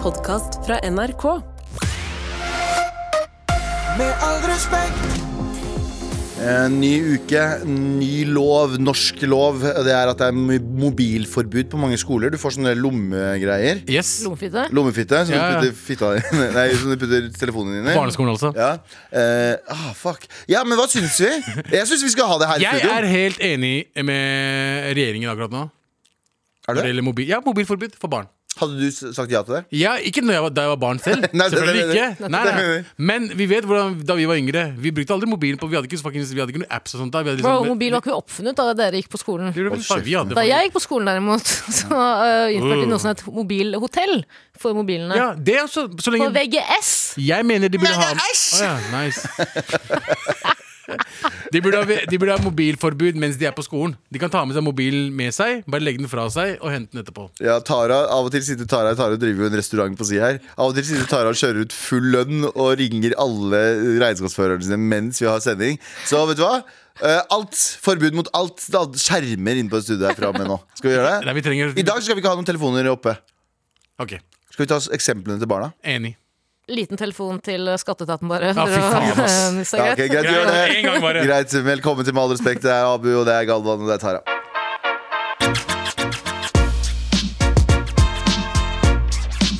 podkast fra NRK. Med all respekt. Eh, Ny uke, ny lov, norsk lov. Det er at det er mo- mobilforbud på mange skoler. Du får sånne lommegreier. Yes. Lomfitte. Lommefitte som Ja, ja. du putter fitta di Nei, som du putter telefonen din i. Barneskolen, altså. Ja. Eh, ah, fuck. Ja, men hva syns vi? Jeg syns vi skal ha det her i Jeg studio. er helt enig med regjeringen akkurat nå. Er du Når det det? gjelder mobil. Ja, mobilforbud for barn. Hadde du s- sagt ja til det? Ja, ikke når jeg var, da jeg var barn selv. Nei, det- Selvfølgelig det- det- ikke. Nei, nei. Men vi vet hvordan da vi var yngre. Vi brukte aldri mobilen på Vi hadde ikke, fucking- vi hadde ikke noen apps og sånt. da Vi hadde Bro, liksom, mobil var ikke oppfunnet da dere gikk på skolen. Lurer på hva faen vi hadde Da for- jeg gikk på skolen derimot, så øh, innførte de Uh. noe som het mobilhotell for mobilene. ja, det er også, så På lenge VGS! Jeg mener de burde ha Å ja, nice. de, burde ha, de burde ha mobilforbud mens de er på skolen. De kan ta med seg mobilen med seg, bare legge den fra seg og hente den etterpå. Ja, Tara, Av og til sitter Tara Tara driver jo en restaurant på siden her. Av og til sitter Tara og kjører ut full lønn og ringer alle regnskapsførerne sine mens vi har sending. Så vet du hva? Eh, Alt, Forbud mot alt. Da skjermer inne på studiet herfra og med nå. Skal vi gjøre Nei, det? vi trenger I dag skal vi ikke ha noen telefoner oppe. Ok, Skal vi ta oss eksemplene til barna? Enig. Liten telefon til skatteetaten, bare. Ja, fy for å- faen, ass. hvis det Ja, er ok, greit. greit, gjør En gang det. bare. Greit, Velkommen til Med all respekt. Det er Abu, og det er Galvan, og det er Tara.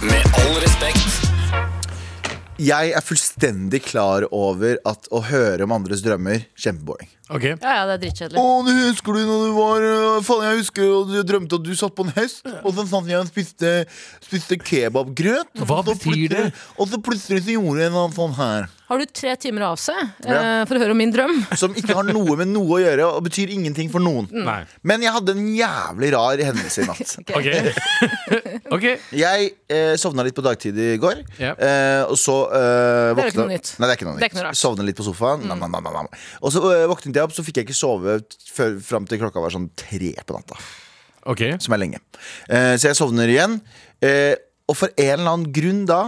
Med all respekt. Jeg er fullstendig klar over at å høre om andres drømmer kjempeboring. Ok Ja, ja, det er Å, drittkjedelig. du husker du når du var øh, Faen, jeg husker jo du drømte at du satt på en hest, og så satt jeg og spiste, spiste kebabgrøt. og Hva så betyr plutselig- det? Og så plutselig så gjorde jeg en annen sånn her. Har du tre timer å avse Ja. eh, for å høre om min drøm? Som ikke har noe med noe å gjøre, og betyr ingenting for noen. Mm. Nei. Men jeg hadde en jævlig rar hendelse i natt. Ok. ok Jeg eh, sovna litt på dagtid i går. Ja. Eh, og så eh, Det er jo ikke våkna- noe nytt. Nei, det er ikke noe nytt. Det er ikke noe rart. Mm. Sovna litt på sofaen. Nam, nam, nam, nam, nam. Og så eh, våknet jeg opp, så fikk jeg ikke sove t- før, fram til klokka var sånn tre på natta. Ok Som er lenge. Eh, så jeg sovner igjen. Eh, og for en eller annen grunn da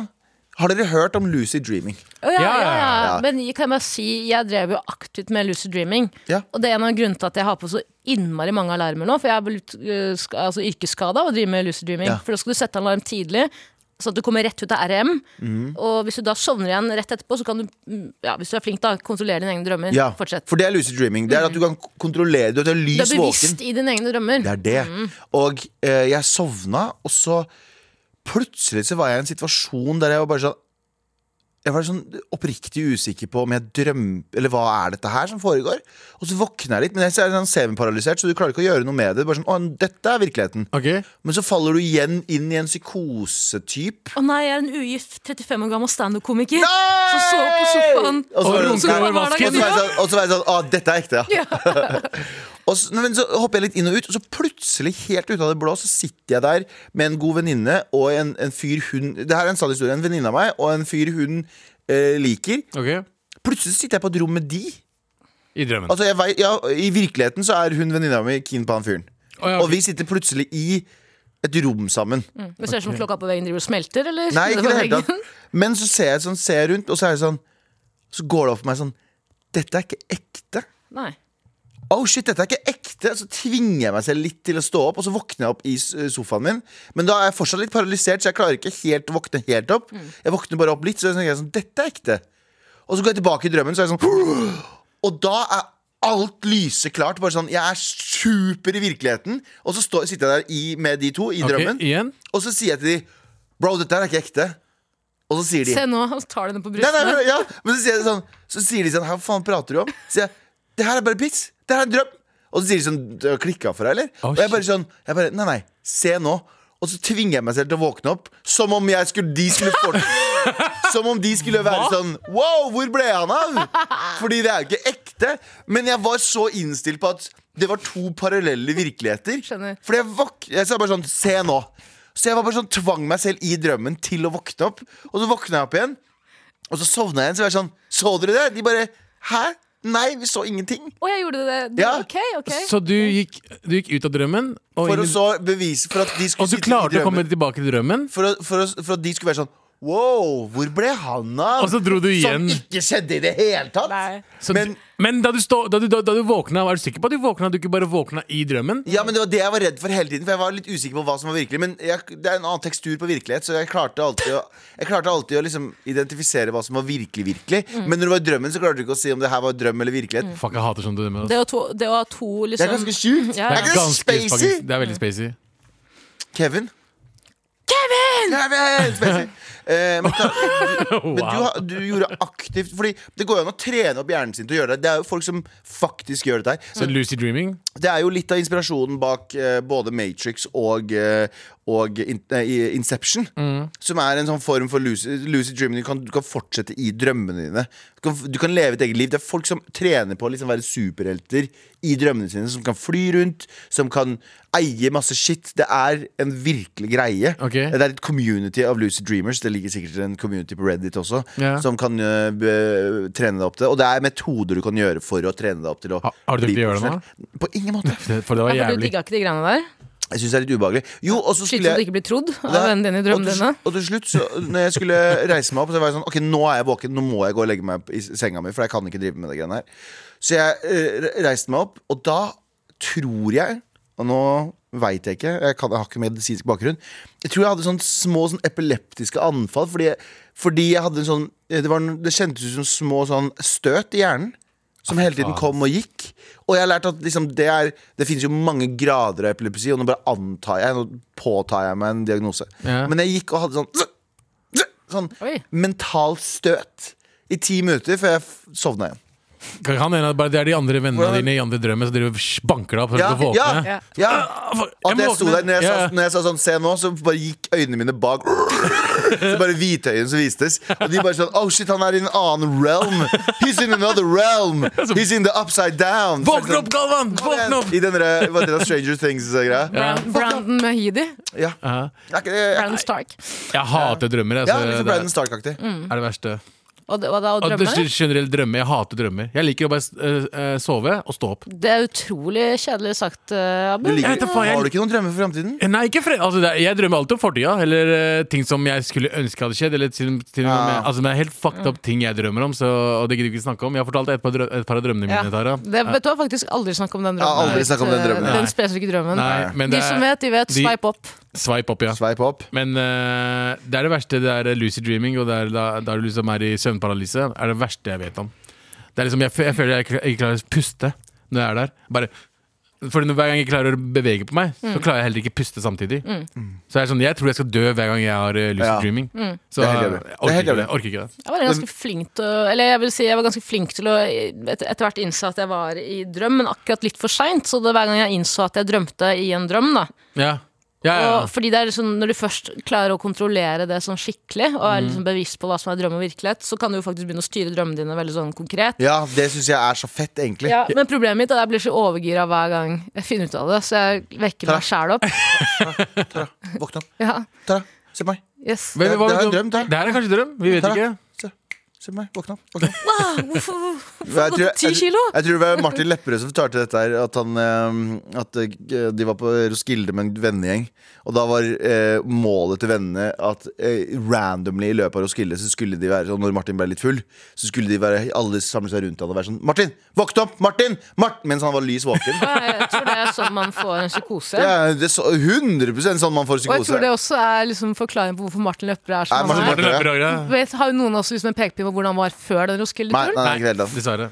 Har dere hørt om Lucy Dreaming? Å, ja, Ja, ja, ja. ja, ja. Men jeg kan bare si jeg drev jo aktivt med lucid dreaming. Ja. Og det er en av grunnene til at jeg har på så innmari mange alarmer nå. For jeg er blitt øh, sk- altså, yrkesskada av å drive med lucid dreaming. Ja. For da skal du sette alarm tidlig. Så at du kommer rett ut av RM. Mhm. Og hvis du da sovner igjen rett etterpå, så kan du, mm, ja, hvis du er flink, da, kontrollere dine egne drømmer. Ja, Fortsett. For det er Lucy Dreaming. Det er at du kan k- kontrollere Du er Du Mm. lys er våken. bevisst i dine egne drømmer. Det er det. Og eh, jeg sovna, og så plutselig så var jeg i en situasjon der jeg var bare sånn jeg var sånn oppriktig usikker på om jeg drømmer Eller hva er dette her som foregår? Og så våkner jeg litt, men jeg er sånn semiparalysert, så du klarer ikke å gjøre noe med det. Bare sånn, å, dette er virkeligheten Ok Men så faller du igjen inn i en psykosetyp. Å nei, jeg er en ugift 35 år gammel standup-komiker. Nei! Så sov på sofaen. Og så Og var det runka sånn- over vasken. Og så var jeg sånn- og så var jeg sånn Å, dette er ekte, ja. og så, nei, men så hopper jeg litt inn og ut, og så plutselig, helt ut av det blå, så sitter jeg der med en god venninne og en, en fyr hun Det her er en sann historie. En venninne av meg og en fyr hun eh, liker. Ok Plutselig sitter jeg på et rom med de. I drømmen. Altså, jeg vet, ja, I virkeligheten så er hun venninna mi keen på han fyren. Å, ja, ok. Og vi sitter plutselig i et rom sammen. Men ser det ut som klokka på veggen driver og smelter, eller? Nei, ikke i På det hele veggen. tatt. Men så ser jeg sånn, ser jeg rundt, og så er det sånn Så går det opp for meg sånn Dette er ikke ekte. Nei. Oh shit, dette er ikke ekte Så tvinger jeg meg selv litt til å stå opp, og så våkner jeg opp i s- eh, sofaen min. Men da er jeg fortsatt litt paralysert, så jeg klarer ikke helt å våkne helt opp. Jeg våkner bare opp litt, så tenker jeg sånn Dette er ekte. Og så går jeg tilbake i drømmen, så er jeg sånn Og da er alt lyseklart. Bare sånn Jeg er super i virkeligheten. Og så står, sitter jeg der i, med de to i Ok, drømmen, igjen og så sier jeg til de Bro, dette her er ikke ekte. Og så sier de Se nå, han tar den på Nei, nei, brystene. nei, ja. Men så sier, jeg sånn, så sier de sånn Hva faen prater du om? Så sier jeg Det her er bare piss. Det her er en drøm. Og så sier de sånn Du har klikka for deg, eller? Å, og jeg bare sånn jeg bare, Nei, nei. Se nå. Og så tvinger jeg meg selv til å våkne opp som om jeg skulle, de skulle få Som om de skulle være sånn Wow, hvor ble han av? Fordi det er jo ikke ekte. Men jeg var så innstilt på at det var to parallelle virkeligheter. Skjønner. Fordi jeg våk... Jeg sa bare sånn Se nå. Så jeg var bare sånn tvang meg selv i drømmen til å våkne opp. Og så våkna jeg opp igjen. Og så sovna jeg igjen, så var jeg sånn Så dere det? De bare Hæ? Nei, vi så ingenting. Å, jeg gjorde det. det. Ja. Ok, ok. Så du gikk, du gikk ut av drømmen, og, For å inn, i- så bevise for at de skulle og du sitte i klarte å komme drømmen. tilbake til drømmen? For, å, for, å, for at de skulle være sånn Wow, hvor ble han av? Og så dro du igjen. Som ikke skjedde i det hele tatt. Nei. Så Men, du- Men da du, stå, da, du, da, da du våkna, var du sikker på at du våkna? Du ikke bare våkna i drømmen? Ja, men Det var det jeg var redd for hele tiden. For jeg var litt usikker på hva som var virkelig Men jeg, det er en annen tekstur på virkelighet, så jeg klarte alltid å, jeg klarte alltid å liksom identifisere hva som var virkelig. virkelig Men når det var i drømmen, så klarte du ikke å si om det her var drøm eller virkelighet. Fuck, jeg hater sånn drømmer. ass. Det å, to, det å ha to Det er liksom ganske sjukt. Ja, Det er ja. ikke spacey. spacey. Det er veldig spacey. Kevin. Kevin! Kevin! Spacey. Eh, men ta- Men du, Wow. har- du gjorde aktivt Fordi det går jo an å trene opp hjernen sin til å gjøre det. Det er jo folk som faktisk gjør dette her. Så Mm. Lucy Dreaming? Det er jo litt av inspirasjonen bak eh, både Matrix og, eh, og in, eh, i- Inception. Som er en sånn form for lucid, lucid dreaming. Du kan, du kan fortsette i drømmene dine. Du kan, du kan leve et eget liv. Det er folk som trener på å liksom være superhelter i drømmene sine. Som kan fly rundt, som kan eie masse shit. Det er en virkelig greie. Ok. Det er et community av lucid dreamers. Det ligger sikkert en community på Reddit også. Ja. Som kan eh, be- trene deg opp til det. Og det er metoder du kan gjøre for å trene deg opp til å Ha- har du tenkt bli å gjøre det nå? profesjonell. På ingen måte. Det- For det var Ja, for du jævlig. digga ikke de greiene der? Jeg syns det er litt ubehagelig. Jo, og så Sliter skulle så du jeg ikke blir trodd av Nei, vennene dine i drømmene og til, dine? og til slutt, så, når jeg skulle reise meg opp, så var jeg sånn Ok, nå er jeg våken, nå må jeg gå og legge meg i senga mi, for jeg kan ikke drive med det greiene her. Så jeg eh, re- reiste meg opp, og da tror jeg Og nå veit jeg ikke, jeg, kan, jeg har ikke medisinsk bakgrunn. Jeg tror jeg hadde sånn små sånn epileptiske anfall fordi, jeg- fordi jeg hadde en sånn eh, Det, var, en- det kjentes ut som små sånn støt i hjernen. Som hele tiden kom og gikk. Og jeg har lært at liksom, det, er, det finnes jo mange grader av epilepsi, og nå bare antar jeg, nå påtar jeg meg en diagnose. Ja. Men jeg gikk og hadde sånn Sånn Oi. mental støt i ti minutter før jeg f- sovna igjen. Kan kan hende at bare det er de andre vennene Hvordan- dine i andre drømmer som driver og sh- banker deg opp før Ja, du ja, våkner? ja. Ja. Ah, fuck, At må jeg sto våkne. der, når jeg, Ja, ja. sa, når jeg sa sånn 'se nå', så bare gikk øynene mine bak. Så bare hvitøyene som vistes. Og de bare sånn 'oh shit, han er i en annen realm'. 'He's in another realm'. 'He's in the upside down'. Så Våkne sånn, opp, Galvan! Kom igjen! Våkne opp! I den der, hva heter det, Stranger Things-greia. Brand, Brandon Mahidi. Ja. Ja. Det er ikke det- Brandon Mm. Stark. Jeg hater drømmer. Ja, Altså, litt sånn det Brandon Stark-aktig. er- er det verste. Og, det- og da å Og det er drømme? generelt drømmer. Jeg hater drømmer. Jeg liker å bare eh, eh, sove og stå opp. Det er utrolig kjedelig sagt, eh, Du Abu. liker- Jeg vet da faen, jeg- Har du ikke noen drømmer for framtiden? Nei, ikke fred. Altså, det er, jeg drømmer alltid om fortida, eller eh, ting som jeg skulle ønske hadde skjedd. Eller til, til, og Ja. med, altså, det er helt fucked up ting jeg drømmer om, så, og det gidder vi ikke snakke om. Jeg har fortalt et par, drø et par av drømmene Ja. mine, Tara. Det, vet du hva, faktisk aldri snakk om den drømmen. Jeg har aldri snakket om den drømmen. Eh, Den Nei. spesifikke drømmen. Nei, men det de som er vet, de vet. de- Sveip opp. sveip opp, ja. Sveip opp. Men eh, det er det verste. Det er lucid dreaming, og det er da, da du liksom er i søvnparalyse, er det verste jeg vet om. Det er liksom, jeg, fø- jeg føler jeg ikke ikke klarer å puste når jeg er der. Bare fordi når- Hver gang jeg klarer å bevege på meg, så klarer jeg heller ikke puste samtidig. Så jeg, er sånn, jeg tror jeg skal dø hver gang jeg har eh, lucid Mm. Ja. dreaming. Så Det er helt jeg jævlig. orker, Det er helt ikke jævlig. det. jeg orker ikke det. Jeg var ganske flink til å Eller jeg vil si jeg var ganske flink til å et, etter hvert innse at jeg var i drøm, men akkurat litt for seint. Så det, hver gang jeg innså at jeg drømte i en drøm, da Ja. Ja, ja, ja. Og fordi det er liksom, Når du først klarer å kontrollere det sånn skikkelig, og Mm. er liksom bevisst på hva som er drøm og virkelighet, så kan du jo faktisk begynne å styre drømmene dine veldig sånn konkret. Ja, det syns jeg er så fett, egentlig. Ja, men problemet mitt er at jeg blir så overgira hver gang jeg finner ut av det, så jeg vekker meg sjæl opp. Våkn opp. Ja, Tara, se på meg. yes. Men Det- hva- det er en hva- drøm, det. Det her er kanskje drøm. Vi vet Tara. ikke. Se, se på meg. Våkn opp. Våkn opp. Wow, hvorfor Jeg tror, gått opp 10 jeg, kilo? jeg tror det var Martin Lepperød som fortalte dette her. At, han, eh, at eh, de var på Roskilde med en vennegjeng. Og da var eh, målet til vennene at eh, randomly i løpet av Roskilde Så skulle de være sånn, når Martin ble litt full, så skulle de være, alle samle seg rundt han og være sånn Martin, våkn opp! Martin! Martin! Mens han var lys våken. Jeg tror det er sånn man får en psykose. Det er, det er så, 100 sånn man får Og jeg tror det psykose. også er liksom forklaringen på hvorfor Martin Løpperød er Er som Martin han er. Løpperød- Drømmer, ja. Vet, har jo noen også liksom en pekepinn på hvordan han var før den Nei, Roskilde-turen? nei, nei, Nei, ikke helt, da. dessverre.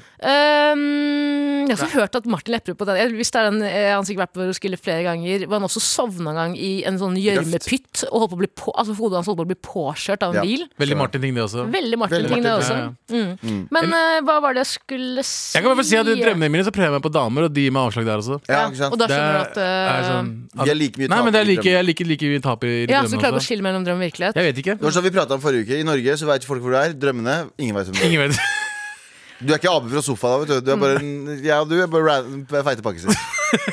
Ehm, jeg har også hørt at Martin Lepperød på den jeg- Hvis det er den, eh, han sikkert vært på Roskilde flere ganger Hvor han også sovna en gang i en sånn gjørmepytt Og holdt på å bli på, altså hodet hans holdt på å bli påkjørt av en Ja. bil Veldig Martin-ting, det også. Veldig Martin Veldig ting det Martin, også Mm. Men eh, hva var det jeg skulle si? Jeg kan bare si at I drømmene mine så prøver jeg meg på damer, og de gir meg avslag der også. Ja, ikke sant? Og da Det skjønner du er, at eh, er sånn, at Vi er like mye Nei, men det tapere er i like, drømmen. jeg liker like mye taper i Ja, så du drømmen klarer å også. skille mellom drøm og virkelighet Jeg vet ikke. Det var sånn vi pratet om forrige uke. I Norge så vet folk hvor du er. Drømmene Ingen vet hvem du er. Ingen vet. Du er ikke ape fra sofaen. da, Vet du. Du er bare en, jeg og du er bare ran- feite pakkiser.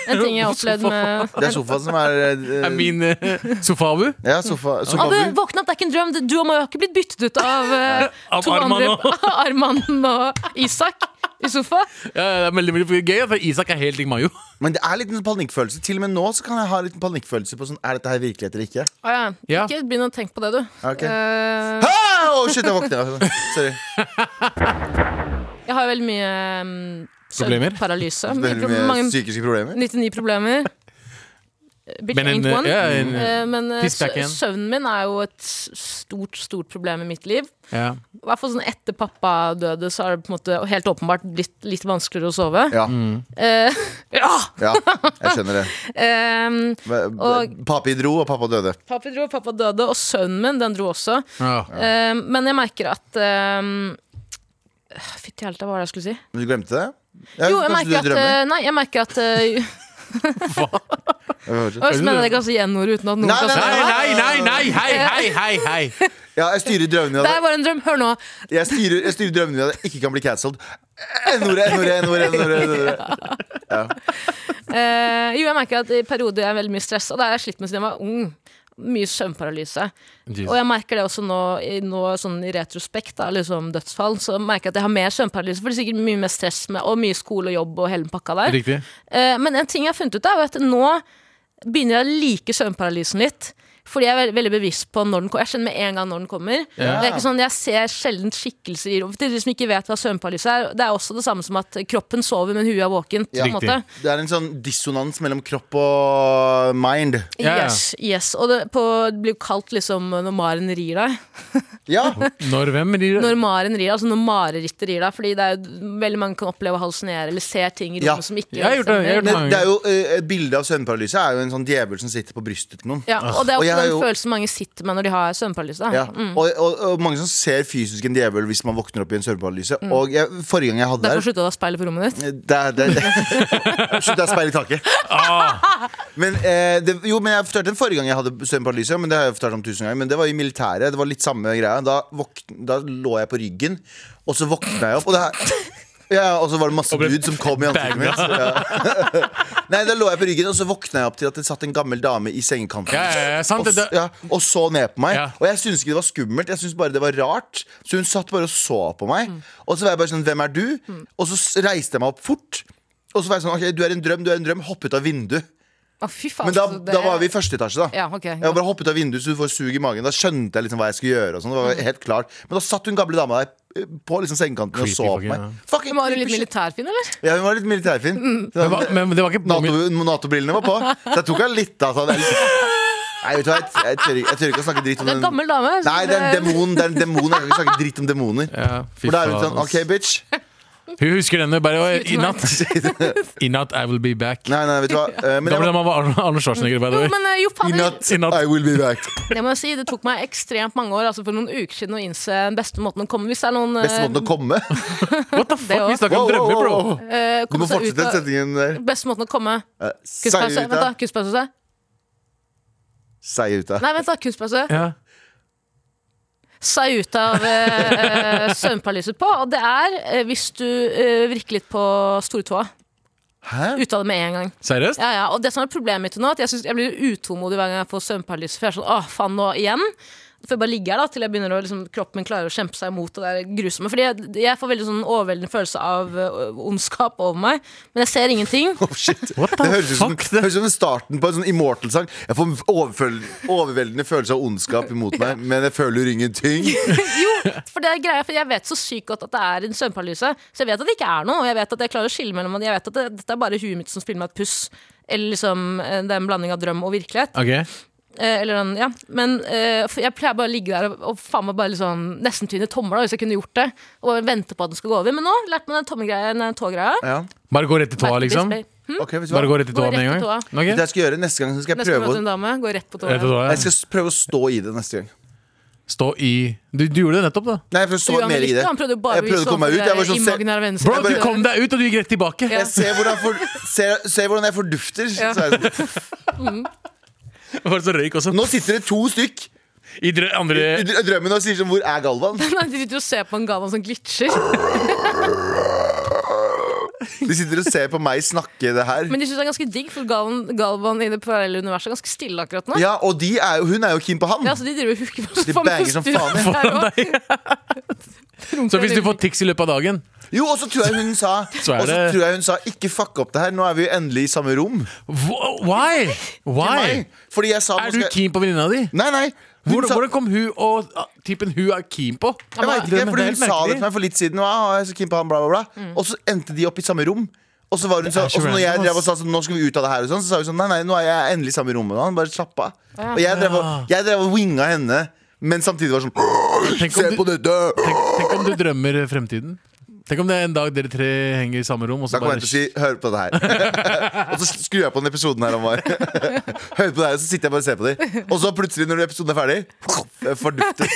En ting jeg opplevde med Det er sofaen som er eh, Det er min eh, sofabu. Ja, sofa, Abu, sofabu. våkne opp, det er ikke en drøm. Du og meg har ikke blitt byttet ut av, eh, Av to Arman andre- og- Arman og Isak i sofa. Ja, det er veldig, veldig gøy, for Isak er helt lik Mayo. Men det er litt en sånn panikkfølelse. Til og med nå så kan jeg ha litt en panikkfølelse på sånn Er dette her virkelighet eller ikke? Å ja. Ja. Ikke begynn å tenke på det, du. Ok. Eh, altså. Ah, Å, shit, jeg våkner. Sorry. jeg jeg har veldig mye mm, Problemer? søvnparalyse. Mye Altså, Veldig pro- mye mange- psykiske problemer. 99 problemer. Bitch Men en, ain't one. ja, en- Eh, Men eh, Piss back sø- igjen. søvnen min er jo et stort, stort problem i mitt liv. Ja. I hvert fall sånn etter pappa døde, så har det på en måte helt åpenbart blitt litt vanskeligere å sove. Ja, Mm. Eh, ja! ja, jeg skjønner det. Em, Og- Papi dro, og pappa døde. pappa dro, pappa døde, og sønnen min, den dro også. Ja. Em, men jeg merker at um, Fytti helta, hva var det jeg skulle si? Men du glemte det? Ja, Jo, jeg kanskje merker du at drømmer? eh, Nei, jeg merker at eh, Jeg vet ikke. Hva mener jeg kanskje gjenord uten at noen Nei, kan se nei, Nei, det? nei, nei, nei, hei, hei, hei, hei. Ja, jeg styrer drømmene Det mine. er bare en drøm. Hør nå. Jeg styrer, jeg styrer drømmene mine at jeg ikke kan bli cancelled. N-ordet, N-ordet, N-ordet, N-ordet. N-ordet. Eh, jo, jeg merker at i perioder jeg er veldig mye stressa. Det har jeg slitt med siden jeg var ung. Mye søvnparalyse. Jesus. Og jeg merker det også nå, i- nå sånn i retrospekt, da, liksom dødsfall. Så merker jeg at jeg har mer søvnparalyse, for det er sikkert mye mer stress med, og mye skole og jobb og hele den pakka der. Riktig. Eh, men en ting jeg har funnet ut, er jo at nå begynner jeg å like søvnparalysen litt. Fordi jeg er veldig, veldig bevisst på når den kommer. Jeg skjønner med en gang når den kommer. Ja. Det er ikke sånn, Jeg ser sjelden skikkelser i rommet. For Dere som ikke vet hva søvnparalyse er, det er også det samme som at kroppen sover, men huet er våkent. på en Riktig. måte. Det er en sånn dissonans mellom kropp og mind. Ja, ja. Yes, yes. Og det, på, det blir jo kalt liksom når maren rir deg. Ja, Når hvem? De- Når maren rir, altså når marerittet rir deg. Fordi det er jo, veldig mange kan oppleve å hallusinere eller se ting i Ja. rommet som ikke Jeg har gjort det, jeg har gjort stemmer. men det er jo eh, Et bilde av søvnparalyse er jo en sånn djevel som sitter på brystet til noen. Ja, og det er Og også jeg har den jo- følelsen mange sitter med når de har søvnparalyse. da. Ja. Og, og, og mange som ser fysisk en djevel hvis man våkner opp i en søvnparalyse. Og jeg, forrige gang jeg hadde her Derfor slutta du å ha speilet på rommet ditt. det er, det er, Slutt, det er speil i taket. Ah. Men, eh, det, jo, men jeg fortalte den forrige gang jeg hadde søvnparalyse. Men det har jeg fortalt om tusen ganger Men det var i militæret. Det var litt samme greia. Da, våkn, da lå jeg på ryggen, og så våkna jeg opp. Og det her ja, og så var det masse ble gud som kom i ansiktet mitt. Ja. Nei, Da lå jeg på ryggen, og så våkna jeg opp til at det satt en gammel dame i sengekanten. Ja, ja, ja, sant, og, s- det- ja, og så ned på meg. Ja. Og jeg syntes ikke det var skummelt, jeg syntes bare det var rart. Så hun satt bare og så på meg. Og så var jeg bare sånn, hvem er du? Og så s- reiste jeg meg opp fort. Og så var jeg sånn, ok, du er en drøm, du er en drøm. Hopp ut av vinduet. Å, fy faen, Men da, så Altså, det da var er- vi i første etasje, da. Ja, ok, Jeg var bare hoppet av vinduet så du får sug i magen. Da skjønte jeg liksom hva jeg skulle gjøre. Og sånn. det Mm. var helt klart Men da satt hun gamle dama der eh, på liksom sengekanten og Creepy så på fucking, meg. ja. Fucking Men Var du litt Mm. creepy shit. militærfin, eller? Ja, hun var litt militærfin. Men, hva- men det var ikke påmin- NATO- Nato-brillene var på. Så jeg tok henne litt, da. sånn. Nei, vet du hva, jeg, jeg, tør, ikke- jeg tør ikke å snakke dritt om Det er en den. gammel dame. så Nei, det er en demon. Det er en demon. Jeg kan ikke snakke dritt om demoner. ja, fy For da er hun faen, sånn ass. OK, bitch. Hun husker denne bare «Oi, I Slutt nå. natt I natt I will be back. Nei, nei, vet du hva. Eh, Men Da ble jeg, man var Arnold- Arnold Schwarzenegger, by the Jo, way. men eh, jo, I faen, jeg- natt, I natt. I will be back. det må jeg si. Det tok meg ekstremt mange år altså for noen uker siden å innse den beste måten å komme Hvis det er noen eh, Beste måten å komme. What the det fuck? Vi også. snakker om Wow, wow, drømmer, bro. wow, wow. eh, Du må komme seg ut fortsette den av- setningen der. Beste måten å komme Eh, Kunstpause. Seig ut, da. Seig ut, Vent, da. Kunstpause. sa jeg. da. Nei, vent, da. Kunstpause. Ja. Seg ut av eh, eh, søvnparalyse på. Og det er eh, hvis du eh, virker litt på stortåa. Hæ? Ut av det med en gang. Seriøst? Ja, ja, og det som er problemet mitt nå At jeg, synes, jeg blir utålmodig hver gang jeg får søvnparalyse. For jeg er sånn, åh, faen, nå igjen For jeg bare ligger her da til jeg begynner å liksom, kroppen min klarer å kjempe seg imot det der grusomme. Fordi jeg, jeg får veldig sånn overveldende følelse av ø, ondskap over meg. Men jeg ser ingenting. Oh, shit. What the Det høres ut som, fuck? det høres ut som starten på en sånn Immortal-sang. Jeg får overføl- overveldende følelse av ondskap imot meg, men jeg føler ingenting. jo, for det er greia, for jeg vet så sykt godt at det er en søvnparalyse. Så jeg vet at det ikke er noe. Og jeg vet at jeg klarer å skille mellom det. Jeg vet at det, dette er bare huet mitt som spiller meg et puss. Eller liksom ø, det er en blanding av drøm og virkelighet. Ok. Eh, eller den, ja. Men eh, for jeg pleier bare å ligge der og, og faen meg bare liksom, nesten tvinne tommer da, hvis jeg kunne gjort det. Og vente på at den skal gå over. Men nå lærte man den tommegreia, den tågreia. Ja. Bare gå rett i tåa, liksom? Ok, vet du Bare hva? gå rett i tåa Gå med en rett i gang? tåa. Ok. Det jeg skal gjøre neste gang, så skal jeg Hm? Neste prøve gang du møter å, en dame, gå rett på Rett i tåa. tåa, jeg ja. skal s- prøve å stå i det neste gang. Stå i Du, du gjorde det nettopp, da. Nei, for å stå mer i det. Han prøvde jo bare Jeg prøvde å komme meg ut. Jeg var sånn, se, Bro, du kom deg ut, og du gikk rett tilbake. Ja. jeg ser, hvordan for, ser, ser hvordan jeg fordufter. Så er jeg sånn. Var det så røyk også? Nå sitter det to stykk I drø andre i dr- drømmen og sier sånn Hvor er Galvan? Nei, De sitter og ser på en gavan som glitcher. De sitter og ser på meg snakke det her. Men de syns det er ganske digg, for Galvan, Galvan i det parallelle universet er ganske stille akkurat nå. Ja. Ja, og de er, jo- hun er jo keen på han. så de driver og hooker på De banger som faen, ja. Så hvis du får tics i løpet av dagen Jo, og så tror jeg hun sa Så er Og så det- tror jeg hun sa Ikke fuck opp det her, nå er vi jo endelig i samme rom wh- Why? Why? Nei, Fordi jeg sa nå Er du skal jeg- keen på venninna di? Nei, nei Hvordan, sa- hvordan kom hun og ah, typen hun er keen på? Jeg vet ikke, fordi men det er Hun helt sa det merkelig. til meg for litt siden, og, ah, jeg er så keen på han, bla, bla, bla. og så endte de opp i samme rom. Og så var hun så, er og så så når jeg random, drev og ass. sa sånn, nå skal vi ut av det her, og sånn, så sa hun sånn nei, nei, nå er jeg endelig i samme rom med han. Bare slapp av. Og jeg drev og, jeg drev og winga henne, men samtidig var sånn Tenk om Se du- på dette! Tenk, tenk om du drømmer fremtiden. Tenk om det er en dag dere tre henger i samme rom. Og så Da kommer bare, jeg til å si 'hør på det her'. og så skrur jeg på den episoden her om var. Hør på det her, og så sitter jeg bare og ser på dem. Og så plutselig, når episoden er ferdig, fordufter.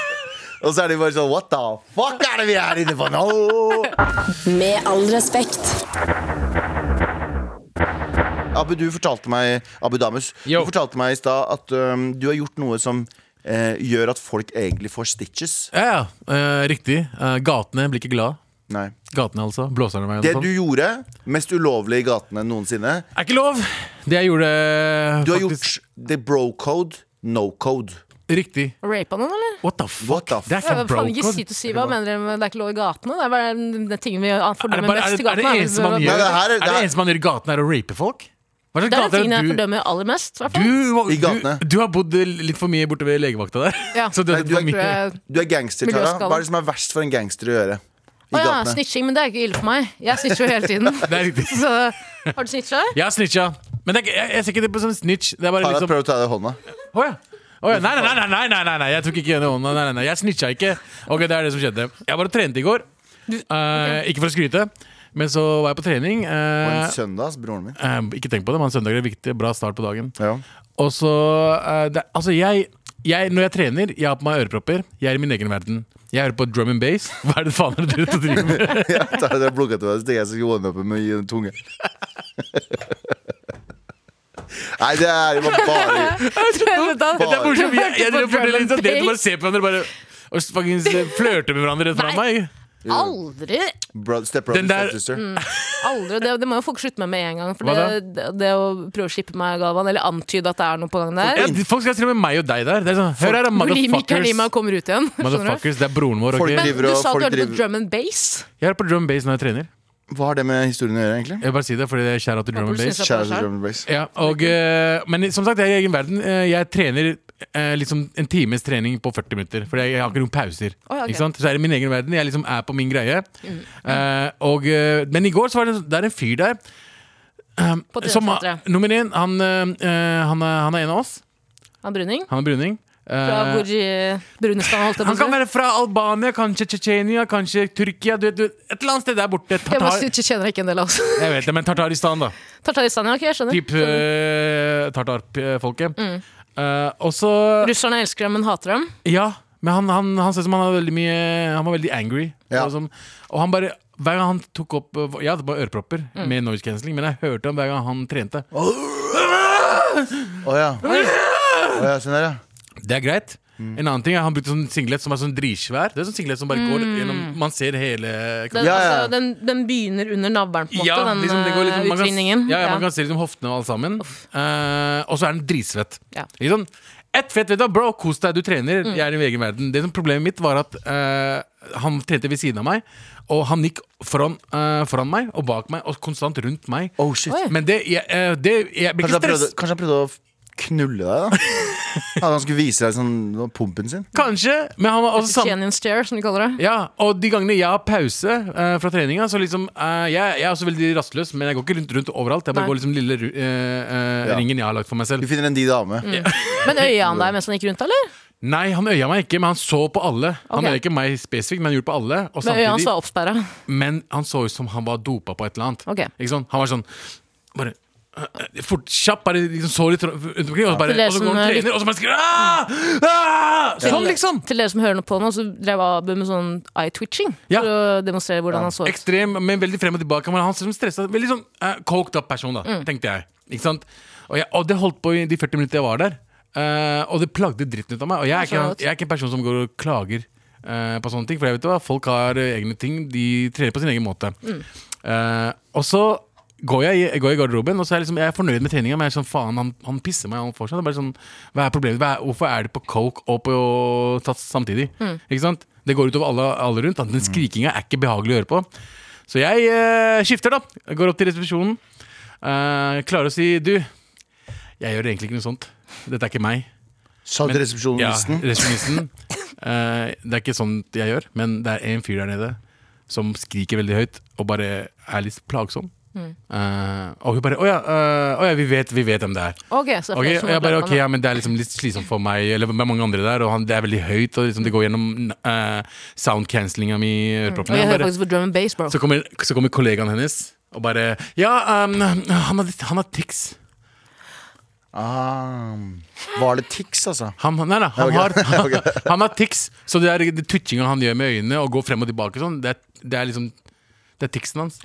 og så er de bare sånn 'what the fuck er det vi er inne på nå?' Med all respekt. Abu, du fortalte meg Abu Damus, Yo. du fortalte meg i stad at øhm, du har gjort noe som eh, gjør at folk egentlig får stitches. Ja, ja, eh, riktig. Eh, gatene blir ikke glad. Nei. Gatene, altså. Blåserne meg. Det eller noe du sånt. gjorde, mest ulovlig i gatene noensinne Er ikke lov! Det jeg gjorde Du har faktisk- gjort the bro code, no code. Riktig. Rapa noen, eller? What the fuck? What the Det er Ja, ikke men bro faen, ikke si til Siva, mener dere med det er ikke lov i gatene? Det er bare den den tingen vi Er det, fordømmer bare, er, mest i det, er det gatene. eneste man gjør Nei, det her er- Er det det her- eneste man gjør i gaten, er å rape folk? Hva slags Det er den gater tingen jeg du- fordømmer aller mest. i hvert fall. du, I du, gatene. du har bodd litt for mye borte ved legevakta der. Ja. Så du, Nei, har du er for mye. Tror jeg- Du er gangster, Tara. Miljøskala. Hva er det som er verst for en gangster å gjøre? I Å ja, gatene. snitching, men det er ikke ille for meg. Jeg snitcher jo hele tiden. Det er riktig. Så, har du snitcha? Jeg har snitcha. Men det er, ikke- jeg, jeg ser ikke det på som snitch. Det er bare Tara, liksom prøv å ta deg i hånda. Å ja. Å ja. Nei, nei, nei, nei, nei, nei, nei, jeg tok ikke henne i hånda. Nei, nei, nei. Jeg snitcha ikke. Ok, Det er det som skjedde. Jeg bare trente i går. Eh, ikke for å skryte, men så var jeg på trening. På eh, en søndag, ass, broren min. eh, ikke tenk på det, men søndager er viktig. Bra start på dagen. Ja. Og så eh, det, Altså, jeg, jeg Når jeg trener, jeg har på meg ørepropper. Jeg er i min egen verden. Jeg hører på drum and bass. Hva er det faen er det dere driver med? Ja, Tara, dere blunket til meg, så tenkte jeg skulle warme opp med å gi en tunge. Nei, det er jo bare Det er morsomt. Jeg, jeg, På jeg, drum and litt sånn, dere bass. bare ser på hverandre bare, og faktisk flørter med hverandre rett fra Nei. meg. Aldri! Bro, step brother, Den der- Mm. step sister. aldri. Det, det må jo folk slutte med med en gang. For Hva det, da? det, det å prøve å shippe meg, Galvan, eller antyde at det er noe på gang der Ja, de- folk skal til og med meg og deg der. Det er sånn, Hør her, da, Hvor Limi Kalima motherfuckers. kommer ut igjen. skjønner du? Motherfuckers, Det er broren vår. ok? Folk Men driver du og- sa at folk du hørte på driver- drum and bass. Jeg hører på drum and bass når jeg trener. Hva har det med historien å gjøre, egentlig? Jeg bare sier det fordi det er shout out til drum and Håper du bass. synes Shout out to Drum and Bass. Ja, og, eh, men som sagt, jeg er i egen verden. Eh, Jeg trener eh, liksom en times trening på 40 minutter. For jeg jeg har ikke noen pauser. Å, ja, ok. Mm. ikke sant? Så jeg er i min egen verden. Jeg liksom er på min greie. Eh, og, eh, men i går så var det, det er en fyr der På som treningssenteret. Nummer én, han, eh, eh, han, er, han er en av oss. Av Bruning. Han er bruning. Eh, Fra hvor i Brunistan holdt jeg han på kan å si. være fra Albania, kanskje Tsjetsjenia, kanskje Tyrkia. Du, vet- du, vet, et eller annet sted der borte. Jeg Tartar, bare sier Tsjetsjener er ikke en del av oss. jeg vet det, men Tartaristan, da. Tartaristan, ja. Ok, jeg skjønner. Typ eh, tartarfolket. Eh, og så Russerne elsker dem, men hater dem. Ja, men han, han, han ser ut som han, hadde veldig mye, han var veldig angry. Ja. Og, sånn, og han bare hver gang han tok opp eh, Jeg hadde bare ørepropper med noise cancelling, men jeg hørte ham hver gang han trente. Å ja. Å ja, sånn der, ja. Det er greit. En annen ting er Han brukte sånn singlet som er sånn dritsvær. Det er sånn singlet som bare går gjennom Man ser hele Den, Ja, ja. Altså, den, den begynner under navlen, på en måte, den liksom, det går liksom- eh, man kan- utvinningen. Ja, ja, Man kan se liksom hoftene og alt sammen. Eh, og så er den dritsvett. Ja. Mm. Liksom, ett fett, vet du, hva, bro, kos deg, du trener. Jeg er i min egen verden. Det som Problemet mitt var at eh, han trente ved siden av meg, og han gikk foran, eh, foran meg og bak meg og konstant rundt meg. Oh, shit. Oi. Men det, jeg, eh, det, jeg Kanskje blir ikke han, prøvde, stress. kanskje han prøvde å f- knulle deg, da? At han skulle vise deg sånn, pumpen sin? Kanskje, men han var også sammen Tsjetsjenian stare, som de kaller det. Ja, og de gangene jeg har pause eh, fra treninga, så liksom eh, jeg, jeg er også veldig rastløs, men jeg går ikke rundt, rundt overalt. Jeg bare Nei. går liksom lille ru- eh, eh, Ja. ringen jeg har lagt for meg selv. Du finner en de dame. Mm. Men øya han deg mens han gikk rundt, eller? Nei, han øya meg ikke, men han så på alle. Han Ok. øya ikke meg spesifikt, men han gjorde på alle. Og Men øya samtidig, hans var oppsperra. men han så ut som han var dopa på et eller annet. Ok. Ikke sånn? Han var sånn bare eh, Fort, kjapt, bare liksom så litt rundt omkring, og så, bare, Til det og så går som, han og eh, trener, og så bare skriver «Ah! ah! Sånn, liksom! Til dere som hører noe på nå, så drev Abu med sånn eye-twitching. Ja. For å demonstrere hvordan han så ut. Ekstrem, men veldig frem og tilbake. Men han ser som stressa. Veldig sånn eh, coked up person, da, Mm. tenkte jeg. Ikke sant? Og, jeg, og det holdt på i de 40 minuttene jeg var der. Eh, og det plagde dritten ut av meg. Og jeg er, Jeg skjønner ikke, godt. jeg er ikke en person som går og klager eh, på sånne ting. For jeg vet jo hva, folk har eh, egne ting. De trener på sin egen måte. Eh, og så går jeg, i- går jeg i garderoben, og så er jeg, liksom, jeg er fornøyd med treninga. Men jeg er sånn, faen, han, han pisser meg han fortsatt. Det er Bare sånn, hva er problemet? Hva er, hvorfor er det på coke og på sats samtidig? Ikke sant? Det går utover alle, alle rundt. Den skrikinga er ikke behagelig å høre på. Så jeg eh, skifter, da. Jeg går opp til resepsjonen. eh, klarer å si Du, jeg gjør egentlig ikke noe sånt. Dette er ikke meg. Sa du til Ja, resepsjonisten? resepsjonisten. Eh, det er ikke sånn jeg gjør, men det er en fyr der nede som skriker veldig høyt og bare er litt plagsom. Mm. Eh, og hun bare 'Å ja, eh, å ja vi, vet, vi vet hvem det er'. Ok, så Ok, det er flere som og jeg har bare, planer. ok, ja, men Det er liksom litt slitsomt for meg eller med mange andre der. Og han, Det er veldig høyt, og liksom det går gjennom uh, sound cancellinga mi i Og øreproppene. jeg Jeg hører bare- faktisk på drum and bass, bro. Så, kommer- så kommer kollegaen hennes og bare Ja, um, han, har, han har tics. Ah, var det tics, altså? Han, nei, nei, han, har, han, har tics. Så det er det twitchinga han gjør med øynene og går frem og tilbake sånn, det er, det er liksom Det er ticsen hans.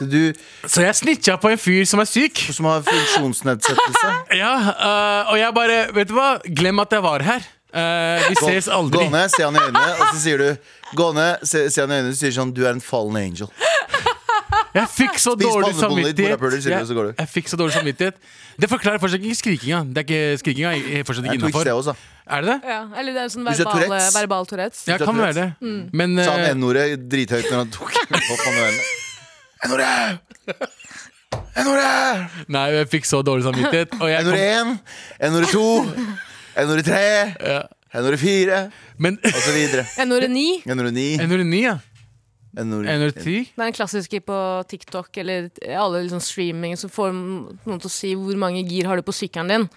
Så du Så jeg snitcha på en fyr som er syk. som har funksjonsnedsettelse? Ja, øh, Og jeg bare Vet du hva? Glem at jeg var her. Eh, vi ses aldri. Gå ned, se han i øynene, og så sier du Gå ned, se, se han i øynene, og så sier sånn Du er en fallen angel. Jeg fikk så Spis dårlig panneboller, litt samvittighet. morapuler, sier du, så går Jeg, du. jeg fikk så dårlig samvittighet Det forklarer fortsatt ikke skrikinga. Det er ikke skrikinga jeg er fortsatt Det er ikke Twitch, innenfor det også. Er det det? Ja, eller det er sånn Hvis det er verbal, Tourettes. verbal Tourettes. Ja, Twitch er kan være det. Men Sa eh, han N-ordet drithøyt når han tok opp manuellen. N-ordet! N-ordet! Nei, jeg fikk så dårlig samvittighet. Og jeg N-ordet kom, 1, N-ordet 2, N-ordet 3, N-ordet 4, men og så videre. N-ordet 9. N-ordet 9, N-ordet 9, E ja. N-ordet N-ordet 10. Det er en klassiker på TikTok eller alle liksom streaming som får noen til å si hvor mange gir har du på sykkelen din.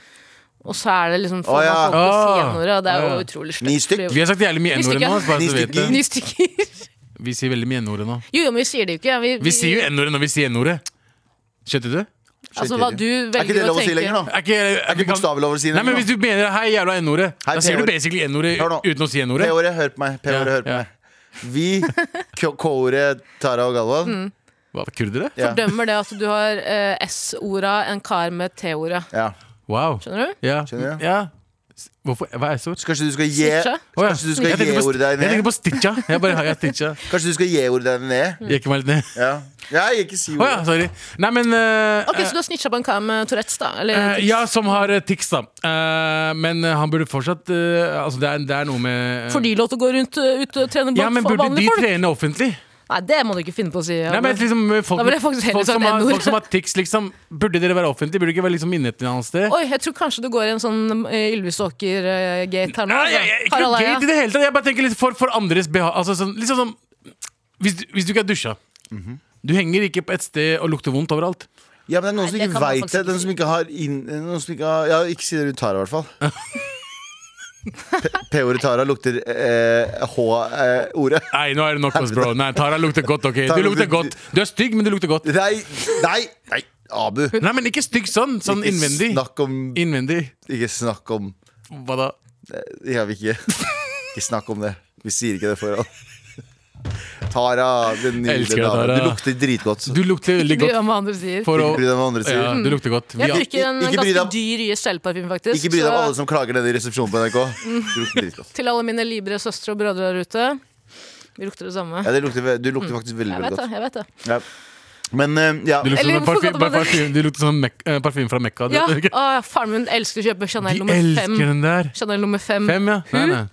Og så er det liksom får Å, ja. man folk til å si Å, N-ordet, og det er Ah. ja. jo utrolig Ni sløvt. stykk. fordi- Vi har sagt jævlig mye Ni N-ordet nå. stykker. Bare så Ni du vet stykker. det. Ni stykker. Vi sier veldig mye N-ordet nå. Jo, jo, men vi sier det jo ikke. Vi, Vi sier jo N-ordet når vi sier N-ordet. Skjønte du? Altså, hva du velger Er ikke det lov å si tenke. lenger, da? Er ikke, Er ikke bokstavelig lov å si det Nei, men lenger, Hvis du mener 'hei, jævla N-ordet', Hei, da sier du P-ordet. basically N-ordet Hør nå. uten å si N-ordet. P-ordet, hør på meg. P-ordet, Ja, hør på ja. meg. Vi, K- K-ordet, Tara og Galvan. Hva, Kurdere? Ja. Fordømmer det at du har eh, S-orda, en kar med T-ordet. Ja. Wow. Skjønner du? Ja. Skjønner du? ja. S- Hvorfor? Hva er S-ord? Så kanskje du skal gi Stitcha? Å, ja. Kanskje du skal Jeg tenkte gi på ordet der sti- Jeg ned? tenker på stitcha. Jeg bare har jeg stitcha. Kanskje du skal gi ordet der ned? Gikk meg litt ned. Ja. Jeg ikke si Å ja, ordet. sorry. Nei, men eh, Ok, Så du har snitcha på en kar med Tourettes, da? Eller, eh, Ja, som har eh, tics, da. Eh, men eh, han burde fortsatt eh, Altså, det er, det er noe med eh, Får de lov til å gå rundt eh, ut og trene Ja, blant men fa- burde de vanlige folk? trene offentlig? Nei, det må du ikke finne på å si. Nei, men Oi, liksom eh, folk, Da ville jeg faktisk heller folk, som sagt har, N-ord. folk som har tics, liksom Burde dere være offentlige? Burde ikke være liksom inne et eller annet sted? jeg tror kanskje du går i en sånn eh, Ylvisåker-gate her nå. Nei, altså. jeg, jeg, ikke Harald noe Eia. gate i det hele tatt. Jeg bare tenker litt for, for andres behag. Altså, sånn, liksom sånn, hvis, du- hvis du ikke har dusja Du henger ikke på et sted og lukter vondt overalt. Ja, men det er noen som det ikke kan man veit faktisk det. ikke Den som ikke har inn... Noen som ikke har Ja, ikke si det rundt Tara, i hvert fall. P- P-ordet Tara lukter eh, H-ordet. Nei, nå er det nok oss, bro. Nei, Tara lukter godt. ok Tara Du lukter lukter- godt Du er stygg, men du lukter godt. Nei, nei, nei, Abu. Nei, men ikke stygg sånn. Sånn Ikke innvendig. Snakk om Innvendig. Ikke snakk om Hva da? Jeg vil ikke Ikke snakk om det. Vi sier ikke det foran. Tara, den Elsker nydelige deg, dama. Tara. Du lukter dritgodt. Du lukter veldig Bry deg godt. om hva andre sier. For å Ikke bry deg om hva andre sier. Ja, du lukter godt. Vi Jeg har- drikker en ikke bry deg ganske om- dyr Gestell-parfyme, faktisk. Ikke bry deg om så- eh, alle som klager nede i resepsjonen på NRK. Du lukter dritgodt. Til alle mine libre søstre og brødre der ute. Vi lukter det samme. Ja, det lukter, du lukter faktisk veldig, Mm. Jeg veldig vet det. godt. jeg vet det Ja. Men eh, ja. du lukter Eller som en hvorfor parfy- kaller man det- parfyme- du lukter som en mek- eh, parfyme fra Mekka. Du, Ja, vet ikke? å, Faren min elsker å kjøpe Chanel De nummer fem. elsker den der. Chanel nummer fem. Fem, ja. Nei, nei.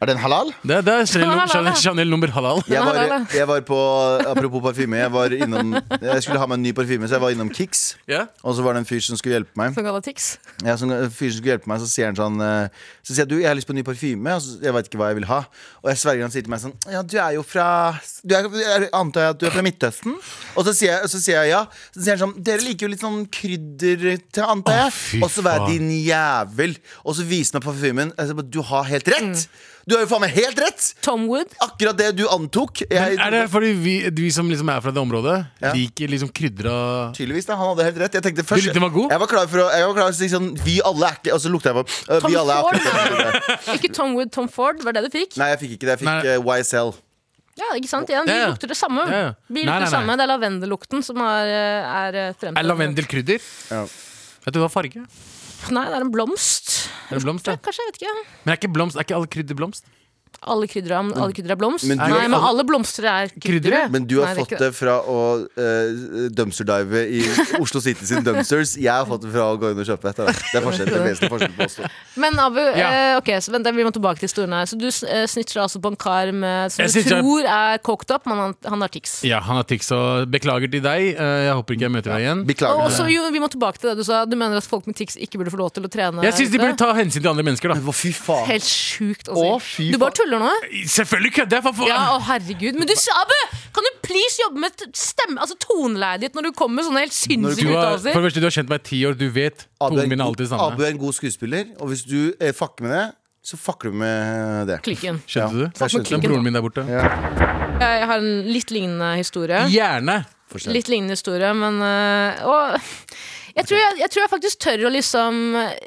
Er den halal? Det, Mm. Hm? det er Chanel, Halal, Chanel, halal. Chanel nummer halal. Jeg Den er var, halal, jeg var på Apropos parfyme. Jeg, var innom, jeg skulle ha meg en ny parfyme, så jeg var innom Kix. Ja. Og så var det en fyr som skulle hjelpe meg. Som kaller tics. Ja, som, en fyr som skulle hjelpe meg, så sier han sånn eh, Så sier jeg du, jeg har lyst på en ny parfyme. Og så, jeg veit ikke hva jeg vil ha. Og jeg sverger han sier til meg sånn Ja, du er jo fra du er, Jeg antar at du er fra Midtøsten? Og så sier jeg, så sier jeg ja. Så sier han sånn Dere liker jo litt sånn krydder til, antar jeg. fy og så var faen. jeg din jævel. Og så viser han meg parfymen. Jeg sier bare, Du har helt rett! Du har jo faen meg helt rett! Tom Wood. Akkurat det du antok. Jeg, Men er det fordi vi, vi som liksom er fra det området, Ja. liker liksom krydra Tydeligvis, da, Han hadde helt rett. Jeg tenkte først likte den var god? Jeg var klar for å, jeg var klar for å si sånn Vi alle er ikke Og så lukta jeg på øh, Tom Vi alle er Ford. akkurat Ikke Tom Wood, Tom Ford. Var det det du fikk? Nei, jeg fikk ikke det. Jeg Nei. fikk eh, YSL. Ja, ikke sant? Igjen, Ja, vi ja. lukter det samme. Ja, ja. Vi Nei, nei, lukter nei. det samme. Det er lavendellukten som er, eh, er fremtiden. Er lavendel krydder? Ja. Vet du hva farge? Er Nei, det er en blomst. det blomst, Ja, da? kanskje, jeg vet ikke. Men er ikke, blomst, er ikke alle krydder blomst? Alle krydder er, alle krydder er blomst. Men du- Nei, men alle blomster er kryddere. Men du har Nei, fått er ikke det fra å uh, dumpsterdive i Oslo City sin dumpsters. Jeg har fått det fra å gå inn og kjøpe et. da. Det er forskjell. Det er vesentlig forskjell på oss to. Men Abu, Ja. eh, ok, så vent, vi må tilbake til historien her. Så du s- eh, snitcher altså på en kar med, som Jeg du snitcher- tror er coked up, men han, han har tics. Ja, han har tics, og beklager til deg. eh, Jeg håper ikke jeg møter deg igjen. Og Beklager. også, jo, vi må tilbake til det du sa. Du mener at folk med tics ikke burde få lov til å trene? Jeg syns de ute? burde ta hensyn til andre mennesker, da. Å, fy faen. Helt sjukt å si. Å, fy du bare faen. tuller nå? Selvfølgelig kødder jeg! for- for- Ja, å herregud. Men du, s- Abu! Kan du please jobbe med t- stemme, altså toneleiet ditt når du kommer med sånne helt Når sinnssyke Du har, for uttalelser? det første, du har kjent meg i ti år, du vet Abu er, tonen en min er god, alltid det Abu samme. er en god skuespiller, og hvis du eh, fucker med det, så fucker du med det. Klikken. Skjønte du? Ja, jeg skjønte Den det. broren min der borte. Jeg har en litt lignende historie. Gjerne! Forskjell. Litt lignende historie, men øh, og, jeg, tror jeg, jeg tror jeg faktisk tør å liksom øh,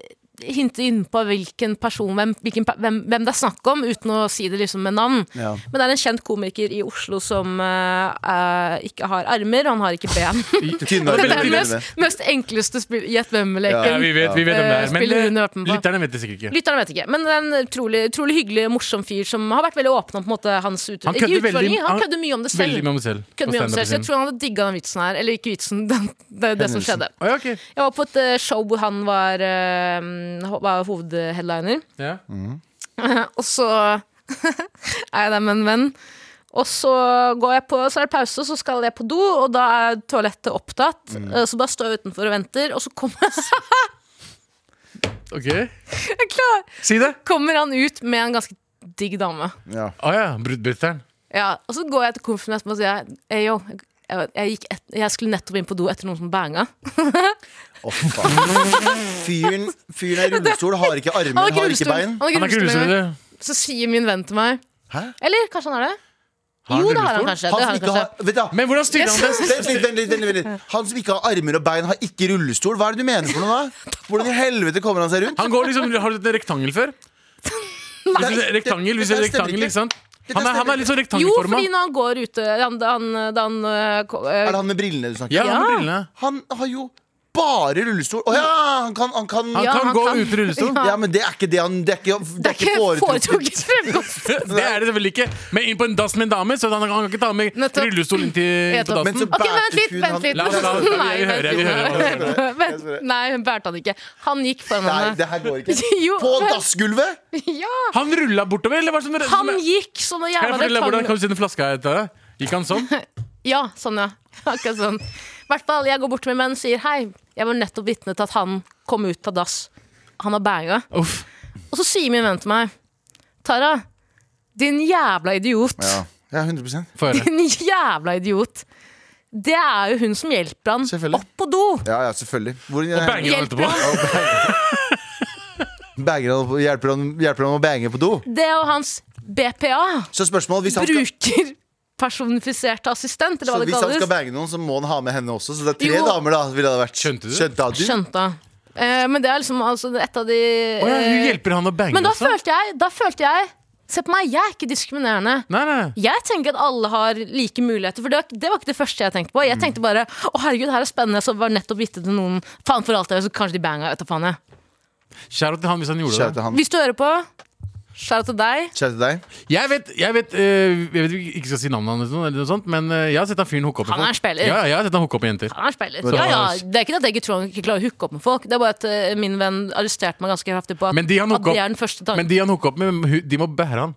hinte innpå hvilken person hvem, hvilken, pe- hvem, hvem det er snakk om, uten å si det liksom med navn. Ja. Men det er en kjent komiker i Oslo som øh, øh, ikke har armer, og han har ikke ben. Tynne Dette er den armer. mest, mest enkleste spill- gjett Ja, hvem-leken. vi vet, vi vet om det er. Men Spiller hun i Hørten eh, på? lytterne vet det sikkert ikke. Lytterne vet ikke, men det er en utrolig, utrolig hyggelig morsom fyr som har vært veldig åpen om på en måte, hans ut Han ikke kødder veldig- utfordringer. Han han- kødder mye om det selv. Veldig med meg selv. på Kødder mye stand-upen om det selv, så jeg sin. tror han hadde digga den vitsen her. Eller ikke vitsen, den, det, det som Hendelsen. skjedde. Å, ja, ok. Jeg var på et eh, show hvor han var, eh, ho- var hovedheadliner. Ja. Mm. Og så er jeg der med en venn. Og så, går jeg på, så er det pause, og så skal jeg på do, og da er toalettet opptatt. Eh, Så bare står jeg utenfor og venter, og så kommer, Ok. jeg er klar, Si det! kommer han ut med en ganske digg dame. Ja. Å ja. Bruddbryteren. Ja, og så går jeg til konfen etterpå og sier «Ey, yo, jeg, jeg, gikk et, jeg skulle nettopp inn på do etter noen som banga. Å, faen. Fyren, fyren er i rullestol, har ikke Han armer, har ikke har ikke rullestol. bein. Han Han har er ikke ikke rullestol. rullestol. Så sier min venn til meg Hæ? Eller kanskje han er det? Har han jo, det har han rullestol? Han kanskje. Det har som han ikke kanskje. har Vet du, Men hvordan styrer han det? Vent litt, vent litt, vent litt, vent litt. Han som ikke har armer og bein, har ikke rullestol. Hva er det du mener for noe da? Hvordan i helvete kommer han seg rundt? Han går liksom, Har du sett en rektangel før? Hvis du ser rektangel, hvis du ser Dette stemmer rektangel, ikke. ikke sant? Dette Han er, han stemmer er litt sånn Jo, rektangelforma. fordi når han går ute han, da han, da han, øh, ko- øh, Er det han med brillene du snakker sånn- Ja, om? han med Ja. brillene. Han har jo bare rullestol. Å ja, han kan, han kan Han Ja, kan han gå kan. ut i rullestol. Ja, men det er ikke det han Det er ikke, det Det er ikke foretrukket. foretrukket fremkost. Det er det selvfølgelig ikke. Men inn på en dass med en dame, så han, han kan ikke ta med Nettopp. rullestol inn til inn på Nettopp. Men dassen. så Ok, vent bærte litt, hun vent han- litt. La- la- la- vi Nei, hører, vi hører, vent litt. Vent, Nei, hun bærte han ikke. Han gikk foran Nei, henne. det her går ikke. Jo, På men- dassgulvet? Ja, Han rulla bortover, eller var det sånn han gikk som en Kan jeg jævla fortelle deg hvordan rektangel. kan du sende flaska etter deg? Gikk han sånn? Ja, sånn, ja. Akkurat sånn. I hvert fall, jeg går bort med menn og sier hei. Jeg var nettopp vitne til at han kom ut på dass. Han har banga. Uff. Og så sier min venn til meg, Tara, din jævla idiot. Ja, ja 100 Få høre. Din jævla idiot. Det er jo hun som hjelper han Selvfølgelig. opp på do. Ja, ja, selvfølgelig. Hvordan, Og banger han Hjelper etterpå. banger han, opp- hjelper, han, hjelper han å bange på do? Det og hans BPA Så spørsmål, hvis han skal, bruker personifisert assistent, eller så hva det hvis han skal kalles. bange noen, så må han ha med henne også. Så det er tre Jo. damer, da. Ville det vært. Skjønte du? Skjønte du? Skjønta. Eh, men det er liksom altså, et av de Å ja, hun eh, hjelper han å bange, Men da altså. følte jeg, da følte jeg Se på meg, jeg er ikke diskriminerende. Nei, nei. nei. Jeg tenker at alle har like muligheter, for det var, det var ikke det første jeg tenkte på. Mm. Jeg tenkte bare å herregud, her er spennende, så var nettopp vitne til noen Faen for alt det er, så kanskje de banga ut av faen jeg. Shout out til han hvis han gjorde Kjære det. til han. Hvis du hører på, skjæra til deg. Kjære til deg. Jeg vet, jeg vet, eh, jeg vet vi ikke skal si navnet hans, eller noe sånt, men eh, jeg har sett han fyren hooke opp med Han er folk. en spiller. Ja, ja, jeg har sett han hooke opp med jenter. Han er spiller. Men- Ja, ja, det er ikke det at jeg ikke tror han ikke klarer å hooke opp med folk. Det er bare at eh, min venn arresterte meg ganske kraftig på at, Men de han at hooker det opp- er den første tanken. Men de han hooker opp med, hu- de må bære han.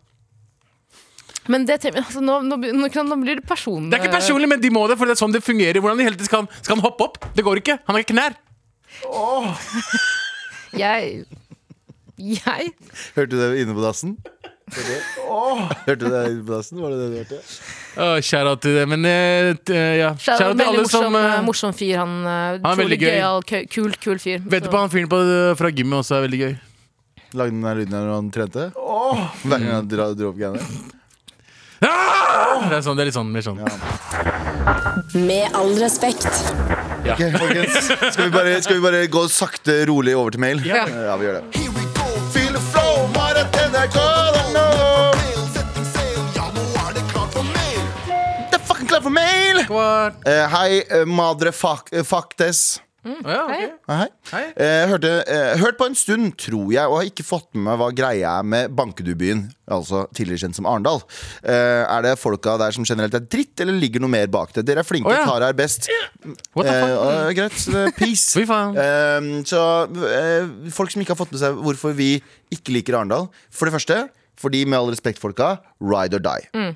Men det tenker jeg- altså, nå, nå, nå, kan- nå blir det personlig. Det er ikke personlig, men de må det, for det er sånn det fungerer. Hvordan i hele tiden skal han, skal han hoppe opp? Det går ikke. Han har ikke knær. Jeg Jeg Hørte du det inne på dassen? Hørte du det inne på dassen? Var det det du hørte? Å, Shout out til det, men eh, t- eh, ja. Shout Shout out til veldig alle morsom, som eh, eh, morsom fyr. Han, eh, er utrolig veldig gøy. gøyal, kø- kul, kul fyr. Vet du Så- på han fyren på, fra gymmet også er veldig gøy. Lagde den der lyden når han trente? Hver gang han dro, dro opp greiene? Ah! Det er, sånn, det er litt sånn, mer sånn. Med all respekt. Ok, folkens. Skal vi, bare, skal vi bare gå sakte, rolig over til mail? Ja. ja vi gjør det. Here we go Feel the flow, maraton, I call it now. Mail, setting sail Ja, nå er det klart for mail Det er fucking klart for mail! Kvart. Eh, hei, eh, madre fuck, eh, fucktes. Å ja, ok. Hei, hei. Hei. Eh, hørte, eh, hørt på en stund, tror jeg, og har ikke fått med meg hva greia er med Bankedubyen, altså tidligere kjent som Arendal. Eh, er det folka der som generelt er dritt, eller ligger noe mer bak det? Dere er flinke, Å, ja. tar her best. What the Eh, fuck? og, greit, så det er peace. Fy faen. Eh, så eh, folk som ikke har fått med seg hvorfor vi ikke liker Arendal. For det første, fordi med all respekt, folka, ride or die. Mm.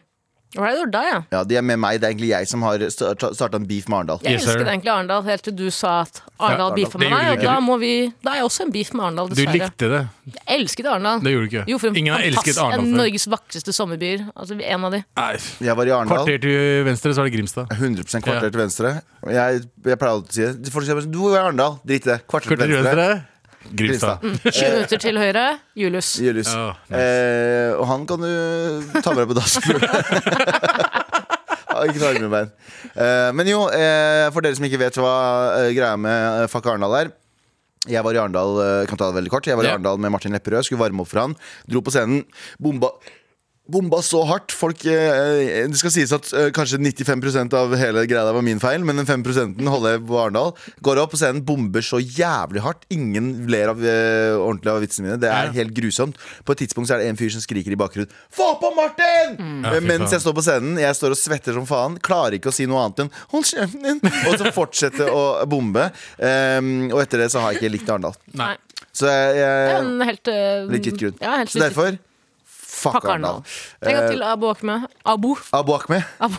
Ride or die, ja. Ja, De er med meg. Det er egentlig jeg som har starta en beef med Arendal. Jeg Yes, sir. elsket egentlig Arendal helt til du sa at Arendal Ja, beefa det med meg. gjorde Og du ikke. da, må vi, da er jeg også en beef med Arendal, Du dessverre. likte det. Jeg elsket Arendal. Det gjorde du ikke. Jo, for en Ingen har elsket fantastisk- Arendal en før. Norges vakreste sommerbyer. Altså en av de. Nei. Jeg var i Arendal. Kvarter til venstre, så er det Grimstad. 100 kvarter Ja. til venstre. Og Jeg, jeg pleier alltid å si det. Folk sier bare sånn, du er i Arendal. Drit i det. Kvarter, Kvarter til venstre, Grimstad. Mm. Grimstad. Mm. 20 minutter til høyre, Julius. Julius. Ja, eh, og han kan du ta med deg på dass. tror jeg. Ja, Ikke noe armebein. Eh, men jo, eh, for dere som ikke vet hva eh, greia med eh, Fuck Arendal er. Jeg var i Arendal eh, kan ta det veldig kort Jeg var i Ja. Arendal med Martin Lepperød. Skulle varme opp for han. Dro på scenen. Bomba Bomba så hardt. Folk, eh, det skal sies at eh, kanskje 95 av hele greia der var min feil, men den 5 holder jeg på Arendal. Går opp på scenen, bomber så jævlig hardt. Ingen ler av, eh, ordentlig av vitsene mine. Det er Ja. helt grusomt. På et tidspunkt så er det en fyr som skriker i bakgrunnen 'Få på Martin!' Mm. Ja, fy Eh, Mens faen. jeg står på scenen. Jeg står og svetter som faen. Klarer ikke å si noe annet enn 'hold kjeften din', og så fortsette å bombe. Ehm, og etter det så har jeg ikke likt Arendal. Nei. Så jeg, Det er jeg en helt eh, Legit grunn. Ja, helt så legit. derfor Fuck Fuck Arendal. Arendal. Tenk at Eh, til Abu Akme. Abu. Abu Akme. Abu.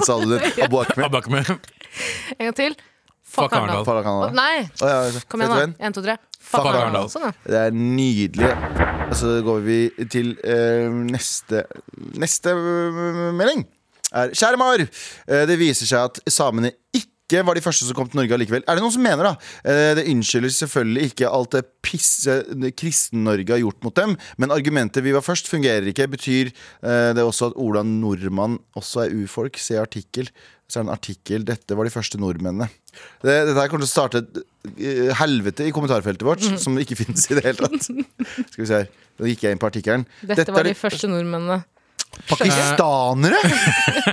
Sa du det? Abu Akme. Ah, bak meg. En gang til. Fuck Arendal. Fuck Å, Arendal. Nei, Å, ja, vet kom du hva? igjen, da. Én, to, tre. Fuck Fuck Arendal. Arendal. Sånn, ja. Det er nydelig. Og så går vi til eh, neste Neste eh, melding. Er, Kjære Mar, eh, det viser seg at samene ikke var de første som kom til Norge allikevel. Er det noen som mener, da? Eh, det unnskylder selvfølgelig ikke alt det pisset det Kristen-Norge har gjort mot dem, men argumentet 'vi var først' fungerer ikke. Betyr eh, det også at Ola nordmann også er urfolk? Se artikkel. Så er det en artikkel 'Dette var de første nordmennene'. Det, dette her kommer til å starte et eh, helvete i kommentarfeltet vårt, Mhm. som ikke finnes i det hele tatt. Skal vi se her. Da gikk jeg inn på artikkelen. Dette var de første nordmennene. Pakistanere?!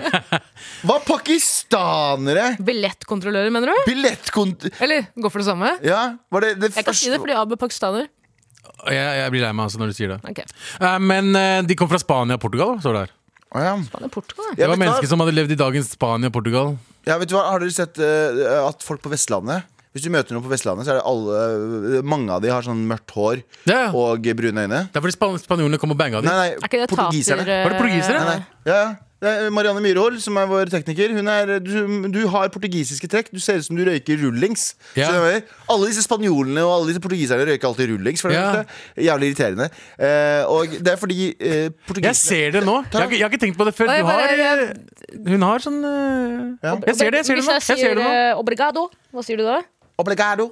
Hva pakistanere?! Billettkontrollører, mener du? Billettkontor... Eller går for det samme? Ja, var det det Jeg kan si det fordi Abu er pakistaner. Jeg, jeg blir lei meg altså, når du sier det. Ok, Eh, Men eh, de kom fra Spania og Portugal, står det her. Å, ja. Han er Portugal, Ja, ja. vet Det var du hva? mennesker som hadde levd i dagens Spania og Portugal. ja, vet du hva, har dere sett eh, at folk på Vestlandet Hvis du møter noen på Vestlandet, så er det alle Mange av de har sånn mørkt hår Ja, ja. og brune øyne. Det er fordi span spanjolene kom og banga dem. Nei, nei, Er ikke det portugiserne. tater... eh, Var det portugisere? Nei, nei. Ja, ja. Det er Marianne Myrhol, som er vår tekniker, hun er, du, du har portugisiske trekk. Du ser ut som du røyker rullings. Ja. Skjønner du hva jeg mener? Alle disse spanjolene og alle disse portugiserne røyker alltid rullings. For det Ja. er Jævlig irriterende. Eh, og det er fordi eh, portugiserne Jeg ser det nå. Jeg, har ikke- jeg har ikke tenkt på det før. Nei, Du har, bare- eh, hun har sånn eh, Jeg ser det, jeg ser det nå. Jeg Hvis jeg ser det sier nå. eh, obrigado, hva sier du da? Obligado.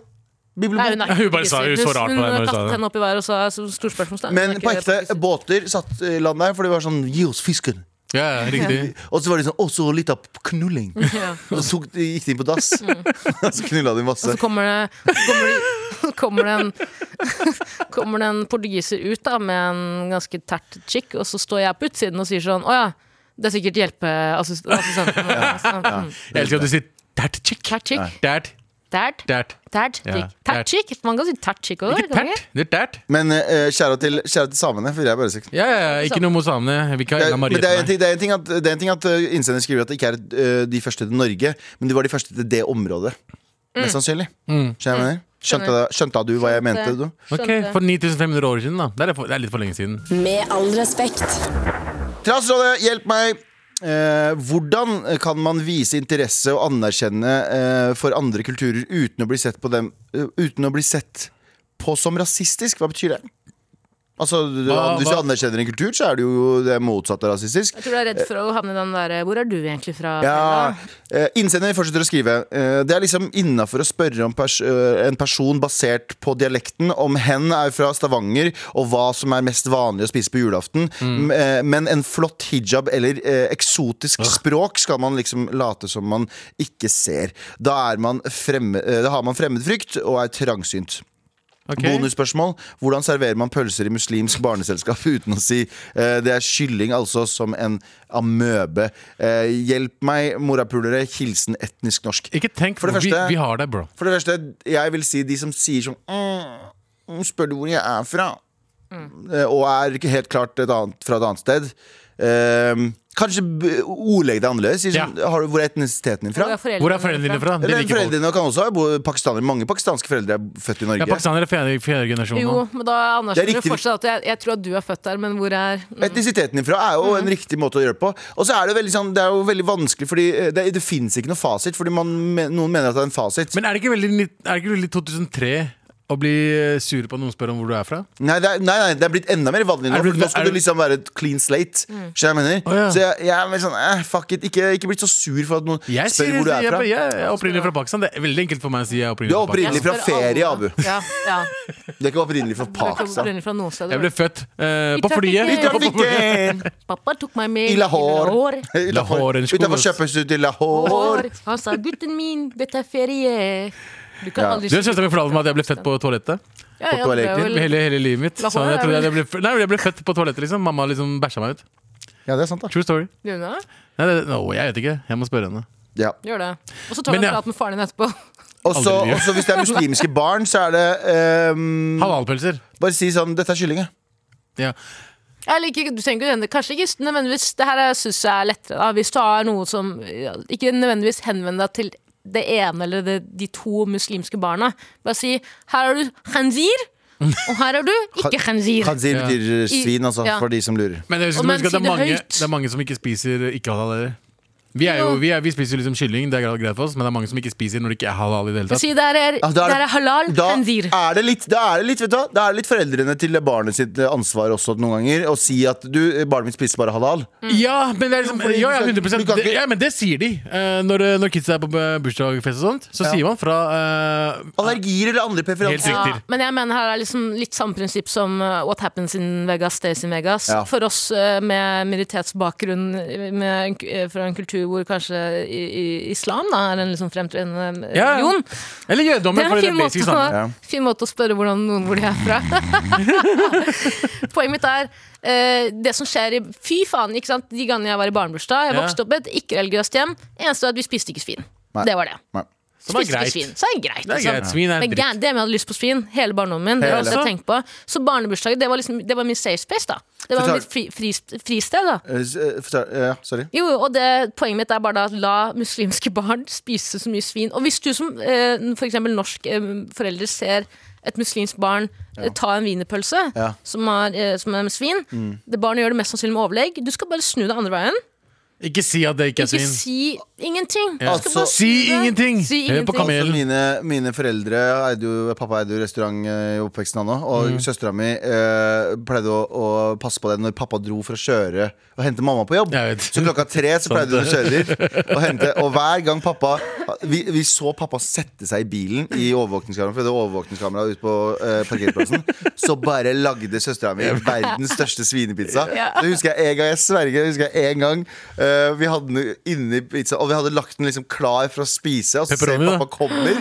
Bibel- Nei, hun er ikke Hun bare sa- hun portugiser. så rart på deg når hun Hun sa kastet det. henne opp i været og sa så stor spørsmålstegn. Hun Men er på ikke ekte, portugiser. båter satt i land der, for det var sånn Gi oss fisken. Ja, ja, riktig. Og så var det sånn Å, så litt av knulling. Ja. Og så tok- gikk de inn på dass, Mm. og så knulla de masse. Så kommer det, kommer det, kommer det, en, kommer det en portugiser ut da, med en ganske tert chick, og så står jeg på utsiden og sier sånn Å ja, det er sikkert altså, hjelpeassist- assistenten. assistenten. Jeg elsker at du sier tert chick. Tert sånn, chick. Tert, Tert. tert. Tert Ja. chick. Tert chick. Man kan si tert chick også, Ikke kan man tert, det er tert. Men eh, kjære, til, kjære til samene, for jeg bare si Ja, ja, ja, ikke noe mot samene. Vi ikke det har er, Ina men Marie det, er en til meg. ting, det, er en ting at, det er en ting at uh, innsender skriver at det ikke er uh, de første til Norge, men de var de første til det området. Mest sannsynlig. Mm. Skjønner jeg hva jeg mener? Skjønte, skjønte du hva jeg mente? Du? Ok, For 9500 år siden, da. Det er, for, det er litt for lenge siden. Med all respekt. Trassrådet, hjelp meg! Eh, hvordan kan man vise interesse og anerkjenne eh, for andre kulturer uten å bli sett på dem eh, Uten å bli sett på som rasistisk? Hva betyr det? Altså, du, Hva- Hvis du hva- anerkjenner en kultur, så er det jo det motsatte av rasistisk. Jeg tror du er redd for å havne i den der Hvor er du egentlig fra? Ja, Pernilla?» eh, Innsender fortsetter å skrive. eh, Det er liksom innafor å spørre om pers eh, en person basert på dialekten, om hen er fra Stavanger, og hva som er mest vanlig å spise på julaften. M- eh, Men en flott hijab eller eh, eksotisk språk skal man liksom late som man ikke ser. Da, er man fremme, eh, da har man fremmedfrykt og er trangsynt. Ok. Bonusspørsmål. Hvordan serverer man pølser i muslimsk barneselskap uten å si eh, det er kylling, altså som en amøbe? Eh, hjelp meg, morapulere. Hilsen etnisk norsk. Ikke tenk, For det vi, første- vi har deg, bro. For det første, jeg vil si de som sier sånn mm, mm, Spør du hvor jeg er fra? Mm. Eh, Og er ikke helt klart et annet, fra et annet sted. Eh, kanskje b- ordlegg det annerledes. Si sånn, Ja. har du, hvor er etnisiteten din fra? Hvor er foreldrene dine fra? De Eller liker folk. foreldrene kan også ha bo- pakistanere. Mange pakistanske foreldre er født i Ja, Norge. pakistanere er fjerde, fjerde generasjon nå. Jo, men da Det er anerkjenner riktig- du fortsatt at jeg, jeg tror at du er født der, men hvor er mm. Etnisiteten ifra er jo Mm. en riktig måte å gjøre det på. Og så er det, veldig, sånn, det er jo veldig vanskelig, Fordi eh, det, det fins ikke noe fasit. Fordi man, me- Noen mener at det er en fasit. Men er det ikke veldig, nitt- er det ikke veldig 2003 å bli eh, sur på at noen spør om hvor du er fra? Nei, det er, nei, nei, det er blitt enda mer vanlig nå. Er det blitt- for nå skal er det- Mm. du liksom være et clean slate. Skjønner du hva jeg mener? Å, ja. Så jeg, jeg er mer sånn eh, fuck it. Ikke, ikke blitt så sur for at noen Jeg, spør sier, hvor du jeg, er fra. jeg, er opprinnelig fra Pakistan. Det er veldig enkelt for meg å si jeg er Du er opprinnelig opprinnelig fra Pakistan. fra Jeg spør ferie, alle. Abu. Ja, ja. Du er ikke opprinnelig fra Du er ikke Pakistan. opprinnelig fra noen steder. Jeg ble født eh, på flyet. I trafikken. trafikken! Pappa tok meg med I Lahore. Lahore, en skole. Utafor kjøpehuset i Lahore. Lahore. Han sa 'gutten min, dette er ferie'. Du kan Ja. aldri Du har søstera mi fortalte meg at jeg ble født på toalettet. Ja, ja, på det er toalettet. vel- Hele, hele livet mitt. Lahore Så jeg, er trodde vel- jeg, ble, fø- nei, jeg ble født på toalettet, liksom. Mamma liksom bæsja meg ut. Ja, det er sant, da. True story. Gjør du det? Nei, det, no, jeg vet ikke. Jeg må spørre henne. Ja. Gjør det. Og så tar Men du en ja. prat med faren din etterpå. Og så Aldri mye. og så hvis det er muslimske barn, så er det ehm, Halalpølser. Bare si sånn Dette er kylling, jeg. Ja. Jeg liker, ikke- du trenger ikke nødvendig- Kanskje ikke nødvendigvis Det her jeg synes jeg er lettere. Da. Hvis du har noe som ja, Ikke nødvendigvis henvend deg til det ene eller det, de to muslimske barna. Bare si 'her har du khanzir', og 'her har du ikke khanzir'. Khanzir Ja. betyr I- svin, altså, ja. for de som lurer. Men jeg husker, Og men husker at det, si er det mange, høyt. det er mange som ikke spiser ikke halal. Vi, er jo, Jo. vi, er, vi spiser jo liksom kylling, det er greit greit for oss, men det er mange som ikke spiser når det ikke er halal. i det hele tatt Si 'der er, Ja, da er det- der er halal Da khanzir'. er det litt, da er det litt, vet du hva? Da er det litt foreldrene til barnet sitt eh, ansvar også noen ganger å si at du, eh, barnet mitt spiser bare halal. Ja, men det er liksom, Jo, fordi ja, ja, du kan- 100 du kan det, ikke- ja, men det sier de. Eh, når, når kidsa er på eh, bursdagsfest og sånt, så Ja. sier man fra eh, Allergier eller andre preferanser. Helt Ja, riktig. men jeg mener her er liksom litt samme prinsipp som uh, What happens in Vegas stays in Vegas. Ja. For oss uh, med minoritetsbakgrunn uh, med, en k- uh, fra en kultur hvor kanskje i, i, islam da, er en liksom fremtredende uh, Ja, ja. religion. Eller Det jødedommen, er for en det er fin basic måte, å, samme. Ja. fin måte å spørre hvordan noen hvor de er fra. Poenget mitt er eh, det som skjer i Fy faen, ikke sant? de gangene jeg var i barnebursdag. Jeg Ja. vokste opp i et ikke-religiøst hjem. Eneste var at vi spiste ikke svin. Nei. Det var det. Nei. Som er Spiste ikke svin. greit. Så er det greit. Det er liksom. greit. Svin er Men en dritt. gæren, det med jeg hadde lyst på svin hele barndommen. Det Hele. var også jeg tenkte på Så barnebursdagen, det var, liksom, det var min safe space, da. Det var Fortal- mitt fri, fri, fristed, da. Eh, s- eh, forstår- eh, Ja, sorry. Jo, og det, Poenget mitt er bare da at la muslimske barn spise så mye svin. Og hvis du som eh, f.eks. norsk eh, forelder ser et muslimsk barn eh, ta en wienerpølse Ja. Mm. som, har, eh, som er med svin Det Barnet gjør det mest sannsynlig med overlegg. Du skal bare snu det andre veien. Ikke si at det ikke er Ikke svin. si ingenting. Du skal Altså, bare Si snu det. ingenting! Si Hør på ingenting. Altså, kamelen. mine, mine foreldre eide jo, Pappa eide jo restaurant eh, i oppveksten han òg. Mm. Og søstera mi eh, pleide å, å passe på det når pappa dro for å kjøre og hente mamma på jobb. Jeg vet. Så klokka tre så pleide hun å kjøre dit og hente. Og hver gang pappa Vi, vi så pappa sette seg i bilen i overvåkningskameraet, for det var overvåkningskamera ute på eh, parkeringsplassen. Så bare lagde søstera mi verdens største svinepizza. Ja. Det husker jeg en gang, jeg sverger, det husker jeg en gang eh, Vi hadde den inni pizza Og vi hadde lagt den liksom klar for å spise Og så ser Pepperoni, da. pappa kommer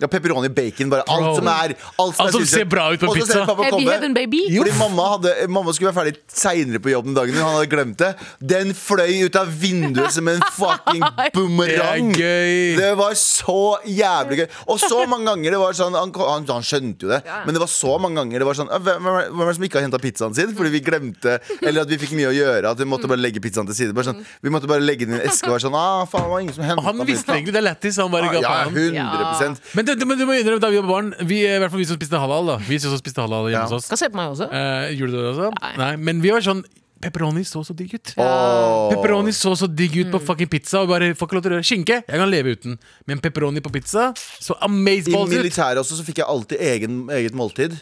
Ja, pepperoni, bacon, bare alt Bro. som er Alt Alt som spiser. ser bra ut på en Og så ser pizza. pappa Happy komme. heaven, baby. Fordi mamma, hadde, mamma skulle være ferdig senere på jobben dagen Hun hadde glemt det Den fløy ut av vinduet som en fucking Det er boomerang gøy. det var så jævlig gøy. Og så mange ganger det var sånn Han, han, han skjønte jo det, men det var så mange ganger det var sånn «Ah, Hvem, hvem, er- hvem er det som ikke har henta pizzaen sin? Fordi vi glemte Eller at vi fikk mye å gjøre. At vi måtte bare legge pizzaen til side. Bare sånn, vi måtte bare legge den i en eske og være sånn ah, faen, det var ingen som hentet Han visste pizzaen». egentlig det er lættis. Han bare ga Ja, faen. 100 Men det, det, men du må innrømme da vi var barn, vi, eh, i hvert fall vi som spiste halal, da. Vi som også spiste halal hjemme Ja. hos oss. Skal se på meg også. Eh, gjorde du det også? Nei. Nei. Men vi var sånn Pepperoni så så digg ut. Åh. Pepperoni så så digg Mm. ut på fucking pizza. Og bare, får ikke lov til å røre Skinke jeg kan leve uten, men pepperoni på pizza så I amazeballs ut! militæret også så fikk jeg alltid egen, eget måltid.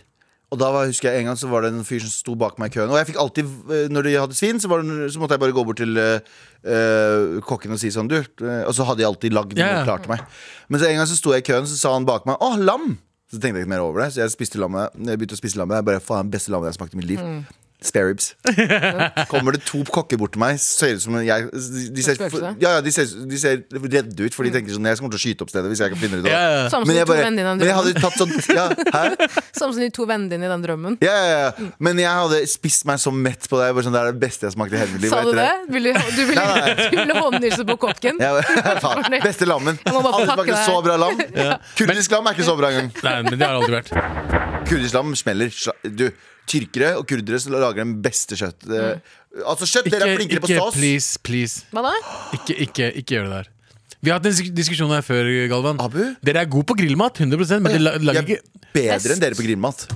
Og da var, husker jeg En gang så var det en fyr som sto bak meg i køen. Og jeg fikk alltid, eh, når de hadde svin, så, var det, så måtte jeg bare gå bort til eh, eh, kokken og si sånn du, eh, Og så hadde de alltid lagd Ja, ja. noe klart til meg. Men så en gang så sto jeg i køen, så sa han bak meg 'Å, lam'. Så tenkte jeg ikke mer over det. Så jeg spiste lammet, jeg begynte å spise lammet. Jeg bare, faen, det beste lammet jeg har smakt i mitt liv. Spareribs. Kommer det to kokker bort til meg, ser ut som jeg De ser, Spøker seg. ja, ja, de ser, de ser redde ut, for de tenker sånn Jeg kommer til å skyte opp stedet hvis jeg ikke finner ut av det. Ja, Samme Men som de jeg, to bare, vennene men dine i jeg den hadde drømmen. tatt sånn ja, Hæ? Samme som de to vennene dine i den drømmen. Ja, ja, ja. Men jeg hadde spist meg så mett på det. Jeg Bare sånn, det er det beste jeg smakte i hele mitt liv. Sa og du etter det? Ville, du ville, Nei, nei. du ville håndhilse på kokken? Ja, faen. Beste lammen. må bare få Alle smakte takke deg. så bra lam. Kurdisk lam er ikke så bra engang. Nei, men det har aldri vært. Kurdisk lam smeller. Sla- Du, tyrkere og kurdere som lager den beste kjøtt. eh, Mm. Altså kjøtt, dere er flinkere på ikke stas. please, please. Hva da? Ikke, ikke, ikke gjør det der. Vi har hatt en dis- diskusjon her før, Galvan. Abu? Dere er gode på grillmat, 100 men dere la- Jeg lager er ikke bedre enn dere på grillmat.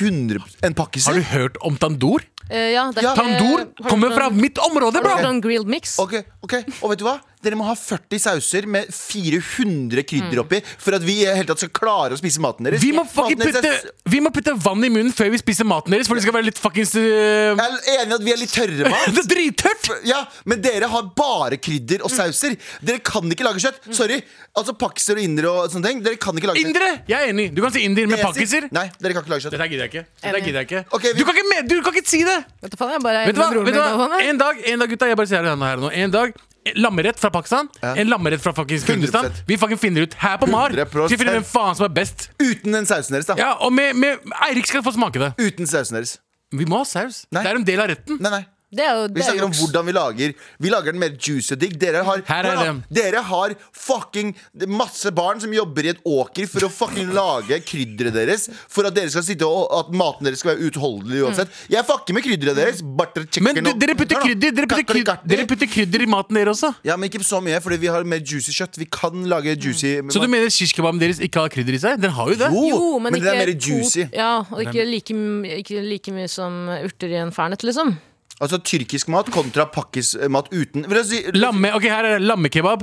100 En Har du pakkis? hørt om tandoor? Eh, ja, det er Ja. ikke- Tandoor Har du kommer sånn- fra mitt område, Har du bro! sånn grilled mix? Ok, ok, og vet du hva? Dere må ha 40 sauser med 400 krydder oppi for at vi i det hele tatt skal klare å spise maten deres. Mm. Vi må, Maten fucking deres er putte, s- vi må putte vann i munnen før vi spiser maten deres, for det skal være litt fuckings øh, Jeg er enig i at vi er litt tørre mat. Det er drittørt! Ja, men dere har bare krydder og sauser. Dere kan ikke lage kjøtt. Mm. Sorry. Altså pakiser og indere og sånne ting. Dere kan ikke lage kjøtt. Indere! Jeg er enig. Du kan si indier Det med jeg pakkiser. sier- Nei, dere kan ikke lage kjøtt. Dette her gidder jeg ikke. Dette her Enig. gidder jeg ikke. Ok, vi- Du, kan ikke med, du kan ikke si det! Vet du faen, jeg bare er Vet du hva? enig med broren Vet du min, hva? Galvan, jeg. En dag, en dag gutta, jeg bare sier det her nå En dag, en lammerett fra Pakistan En lammerett fra fucking Kurdistan 100%. Vi fucking finner ut her på Mar Skal 100%. vi finne hvem faen som er best Uten den sausen deres, da. Ja, og med, med Eirik skal få smake det Uten sausen deres. Vi må ha saus Nei. Det er en del av retten Nei, nei. Det er jo Vi det er snakker om juks. hvordan vi lager Vi lager den mer juicy og digg. Dere har, Her er dere, det. dere har fucking masse barn som jobber i et åker for å fucking lage krydderet deres. For at dere skal sitte og at maten deres skal være utholdelig uansett. Jeg fucker med krydderet deres. Butter chicken Mm. Men du, og- dere putter Ja da. krydder dere putter, krydder, Kakkelikatti. dere putter krydder i maten dere også Ja, men ikke så mye, fordi vi har mer juicy kjøtt. Vi kan lage juicy Mm. Så du mener shishkebaben deres ikke har krydder i seg? Den har jo det Jo, Jo, men, men den er mer ikke juicy. to- Ja, og ikke like, m- ikke like mye som urter i en fernet, liksom. Altså tyrkisk mat kontra pakkismat uten Men altså, Lamme, ok her er det lammekebab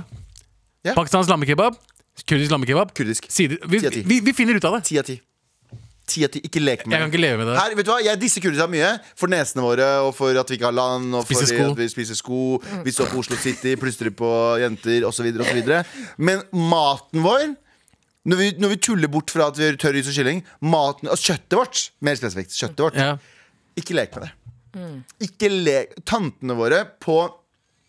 Ja. Pakistans lammekebab Kurdisk lammekebab Kurdisk. Sider. vi, Ti av ti. vi, vi finner ut av det Ti av ti. Ti av ti. Ikke lek med Jeg kan ikke leve med det. Her, vet du hva? Jeg disser Kurdistan mye. For nesene våre, og for at vi ikke har land, og for Spiser sko. at vi spiser sko. Vi står på Oslo City, plystrer på jenter, osv., osv. Men maten vår når vi, når vi tuller bort fra at vi gjør tørr is og kylling Maten, altså Kjøttet vårt, mer spesifikt. Kjøttet vårt. ja. Ikke lek med det. Ikke lek Tantene våre på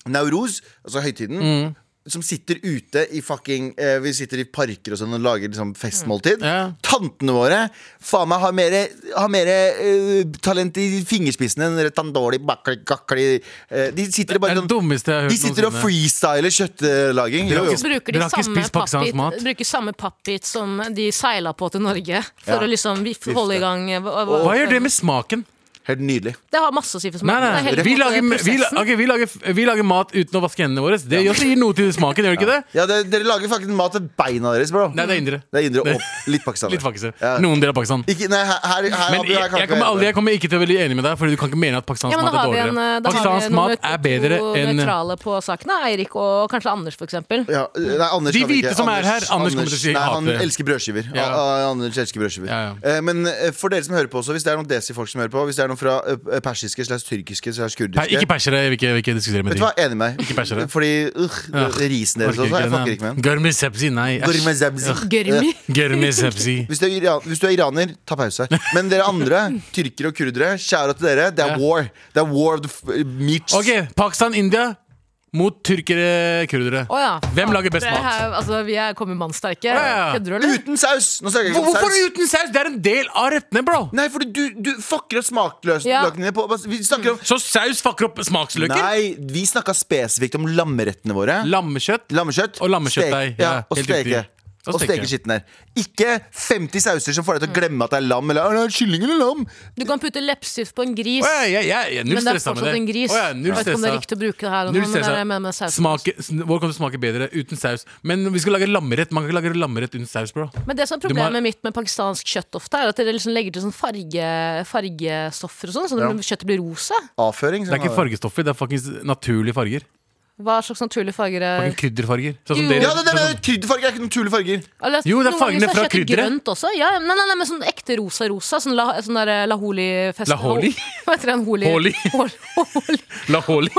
Nauroz, altså høytiden, som sitter ute i fucking eh, Vi sitter i parker og sånn og lager liksom festmåltid. Ja. Tantene våre faen meg har mer, har mere, eh, talent i fingerspissene enn tandori, bakli, gakli eh, De sitter Det bare er det sånn dummeste jeg har hørt De sitter og noensinne. freestyler kjøttlaging. Jo, jo. ikke- Bruker Dere de har ikke samme spist pakistansk pappbit- mat? Bruker samme pappbit som de seila på til Norge, for Ja. å liksom vi- holde i gang eh, hva- hva- Hva gjør det med smaken? Helt nydelig. Det har masse å si for Nei, smaken. nei, Det er hele vi, lager, vi, la- prosessen. ok, vi, lager, vi lager mat uten å vaske hendene våre. Det gjør sikkert noe til smaken, gjør det ikke det? Ja, dere, dere lager faktisk mat til beina deres, bro. Nei, det er indre. Det er indre og litt pakistanere. Litt faktisk. Ja. Noen deler av Pakistan. Ikke, nei, her, her, her Abu, Men her kan jeg, ikke jeg, være kommer aldri, enig. jeg kommer ikke til å bli enig med deg, Fordi du kan ikke mene at pakistansk Ja, men mat da er har vi dårligere. en, eh, da har vi Pakistansk noen mat er bedre to enn nøytrale på saken. da. Eirik og kanskje Anders, for eksempel. Ja, nei, Anders De kan vi ikke. hvite som er her, Anders kommer til å si nei, hat han det. elsker brødskiver. Ja. Ah, ah, Anders elsker brødskiver Ja, ja. Eh, Men eh, for dere som hører på også, hvis det er noen desi-folk som hører på, hvis det er noen fra eh, persiske slags tyrkiske slags kurdiske Nei, Ikke persere. Jeg vil ikke, vil ikke diskutere Vet du med de. hva, enig med meg. persere. Fordi uh, Ugh, risen deres også, jeg Orker ikke fucker det. ikke med den. Gourmet sepsi, nei. æsj. Gourmet zebzi. Gørmi. Gourmet sepsi. Hvis du, er iran, hvis du er iraner, ta pause. Men dere andre, tyrkere og kurdere, kjære til dere, det er Ja. war. Det er war of the f- meats. Ok, Pakistan-India mot tyrkere, kurdere. Å ja. Hvem lager best Det mat? her- Altså, vi er kommet mannsterke. ja, ja. Kødder du, eller? Uten saus! Nå snakker jeg ikke om Hvorfor saus. uten saus? Det er en del av rettene, bro. Nei, fordi du, du fucker opp Ja. smakløkene på Vi snakker om Så saus fucker opp smaksløker? Nei, vi snakka spesifikt om lammerettene våre. Lammekjøtt? Lammekjøtt Og lammekjøttdeig, stek- Ja, ja, og helt steke. riktig. Og Og steke steke. skitten der. Ikke 50 sauser som får deg til å glemme at det er lam. Eller «Å, det er kylling eller lam Du kan putte leppestift på en gris. Å, ja, jeg, jeg, jeg er null Men det er stressa med det. fortsatt en gris. Å, jeg er jeg null vet ikke om det er stressa. riktig å bruke det her. Og nå, Null men det er stressa. jeg mener med sausen. Smake, sn- vår kommer til å smake bedre uten saus. Men vi skal lage lammerett. Man kan ikke lage lammerett uten saus, bro. Men det som er Du må ha- problemet mitt med pakistansk kjøtt ofte, er at dere liksom legger til sånn farge, fargestoffer og sånn, så det- kjøttet blir rosa. Avføring. Det er ikke fargestoffer, det er faktisk naturlige farger. Hva slags naturlige farger er Fucking krydderfarger. Sånn som Jo. dere. Ja, det, det, det, sånn, krydderfarger er ikke naturlige farger. Eller, Jo, det er noen ganger fargene så fra kjøttet krydderet. Grønt også. Ja, ja, nei, nei, nei, men sånn ekte rosa-rosa. Sånn, la, sånn der eh, laholi-fest. Laholi? Hva heter den? Holi. Holi. Hol- Holi. som- Laholi.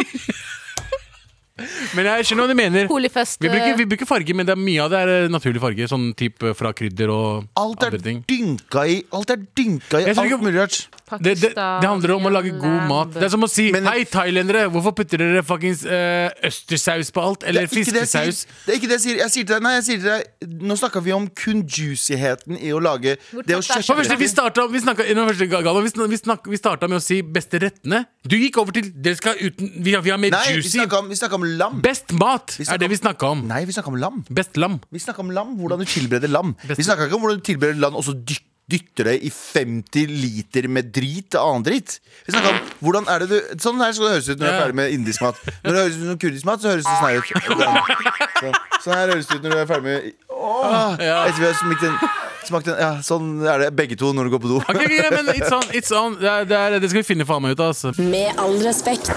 Men jeg skjønner hva du mener. Holyfest Vi bruker, eh, vi bruker farge, men det er mye av det er eh, naturlig farge. Sånn type fra krydder og Alt er andre ting. dynka i Alt er dynka i Jeg tror alt ikke- mulig rart. Det, det, det handler om å lage god eh, Pakistan, mat. Det er som å si Men- Hei, thailendere! Hvorfor putter dere fuckings eh, østersaus på alt? Det Eller er ikke det jeg sier. fiskesaus? Det er ikke det jeg sier. Jeg sier til deg, nei, jeg sier til deg Nå snakka vi om kun juicyheten i å lage det å tatt er For det første, vi kjøpe starta, vi snakka, nå, første, Galvan, vi sn- vi snak- vi starta med å si beste rettene. Du gikk over til dere skal uten, vi, har, vi har mer Nei, vi juicy. snakka om, vi snakket om lam. Best mat snakket er det vi snakka om. Nei, vi snakka om lam. Best lam. Vi snakka om lam, hvordan du tilbereder lam. Vi snakka ikke om hvordan du tilbereder lam og så dyk- dytter det i 50 liter med drit og annen dritt. Vi snakka om hvordan er det du Sånn her skal det høres ut når du er Ja. ferdig med indisk mat. Når det høres ut som kurdisk mat, så høres det sånn her ut. Så, sånn her høres det ut når du er ferdig med Åh, Etter vi har smakt en, smakt en Ja, sånn er det begge to når du går på do. Ok, ok, ja, men it's on, it's on. Det, er, det, er, det skal vi finne faen meg ut av. Altså. Med all respekt.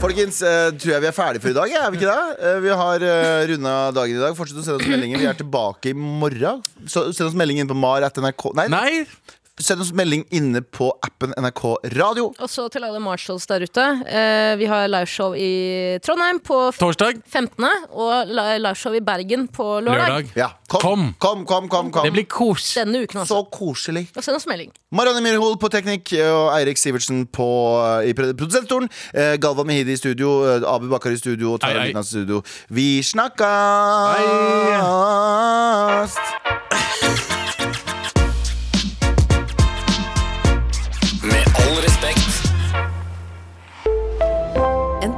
Folkens, eh, tror jeg vi er ferdige for i dag, ja, er vi ikke det? Eh, vi har uh, runda dagen i dag. Fortsett å sende oss meldinger. Vi er tilbake i morgen. Så, send oss melding inn på mar etter NRK Nei, Nei, Send oss melding inne på appen NRK Radio. Og så til alle Marshalls der ute. Eh, vi har liveshow i Trondheim på f- torsdag. 15. og la- liveshow i Bergen på lørdag. Lørdag. Ja, kom, kom, kom, kom, kom. Det blir kos. Denne uken, altså. Så koselig. Og send oss melding. Marianne Myrhol på teknikk og Eirik Sivertsen på, i pre- produsentstolen. Eh, Galvan Mehidi i studio, eh, Abu Bakar i studio og Tara Hei, hei. Midnas i studio. Vi snakkast! Med all respekt. En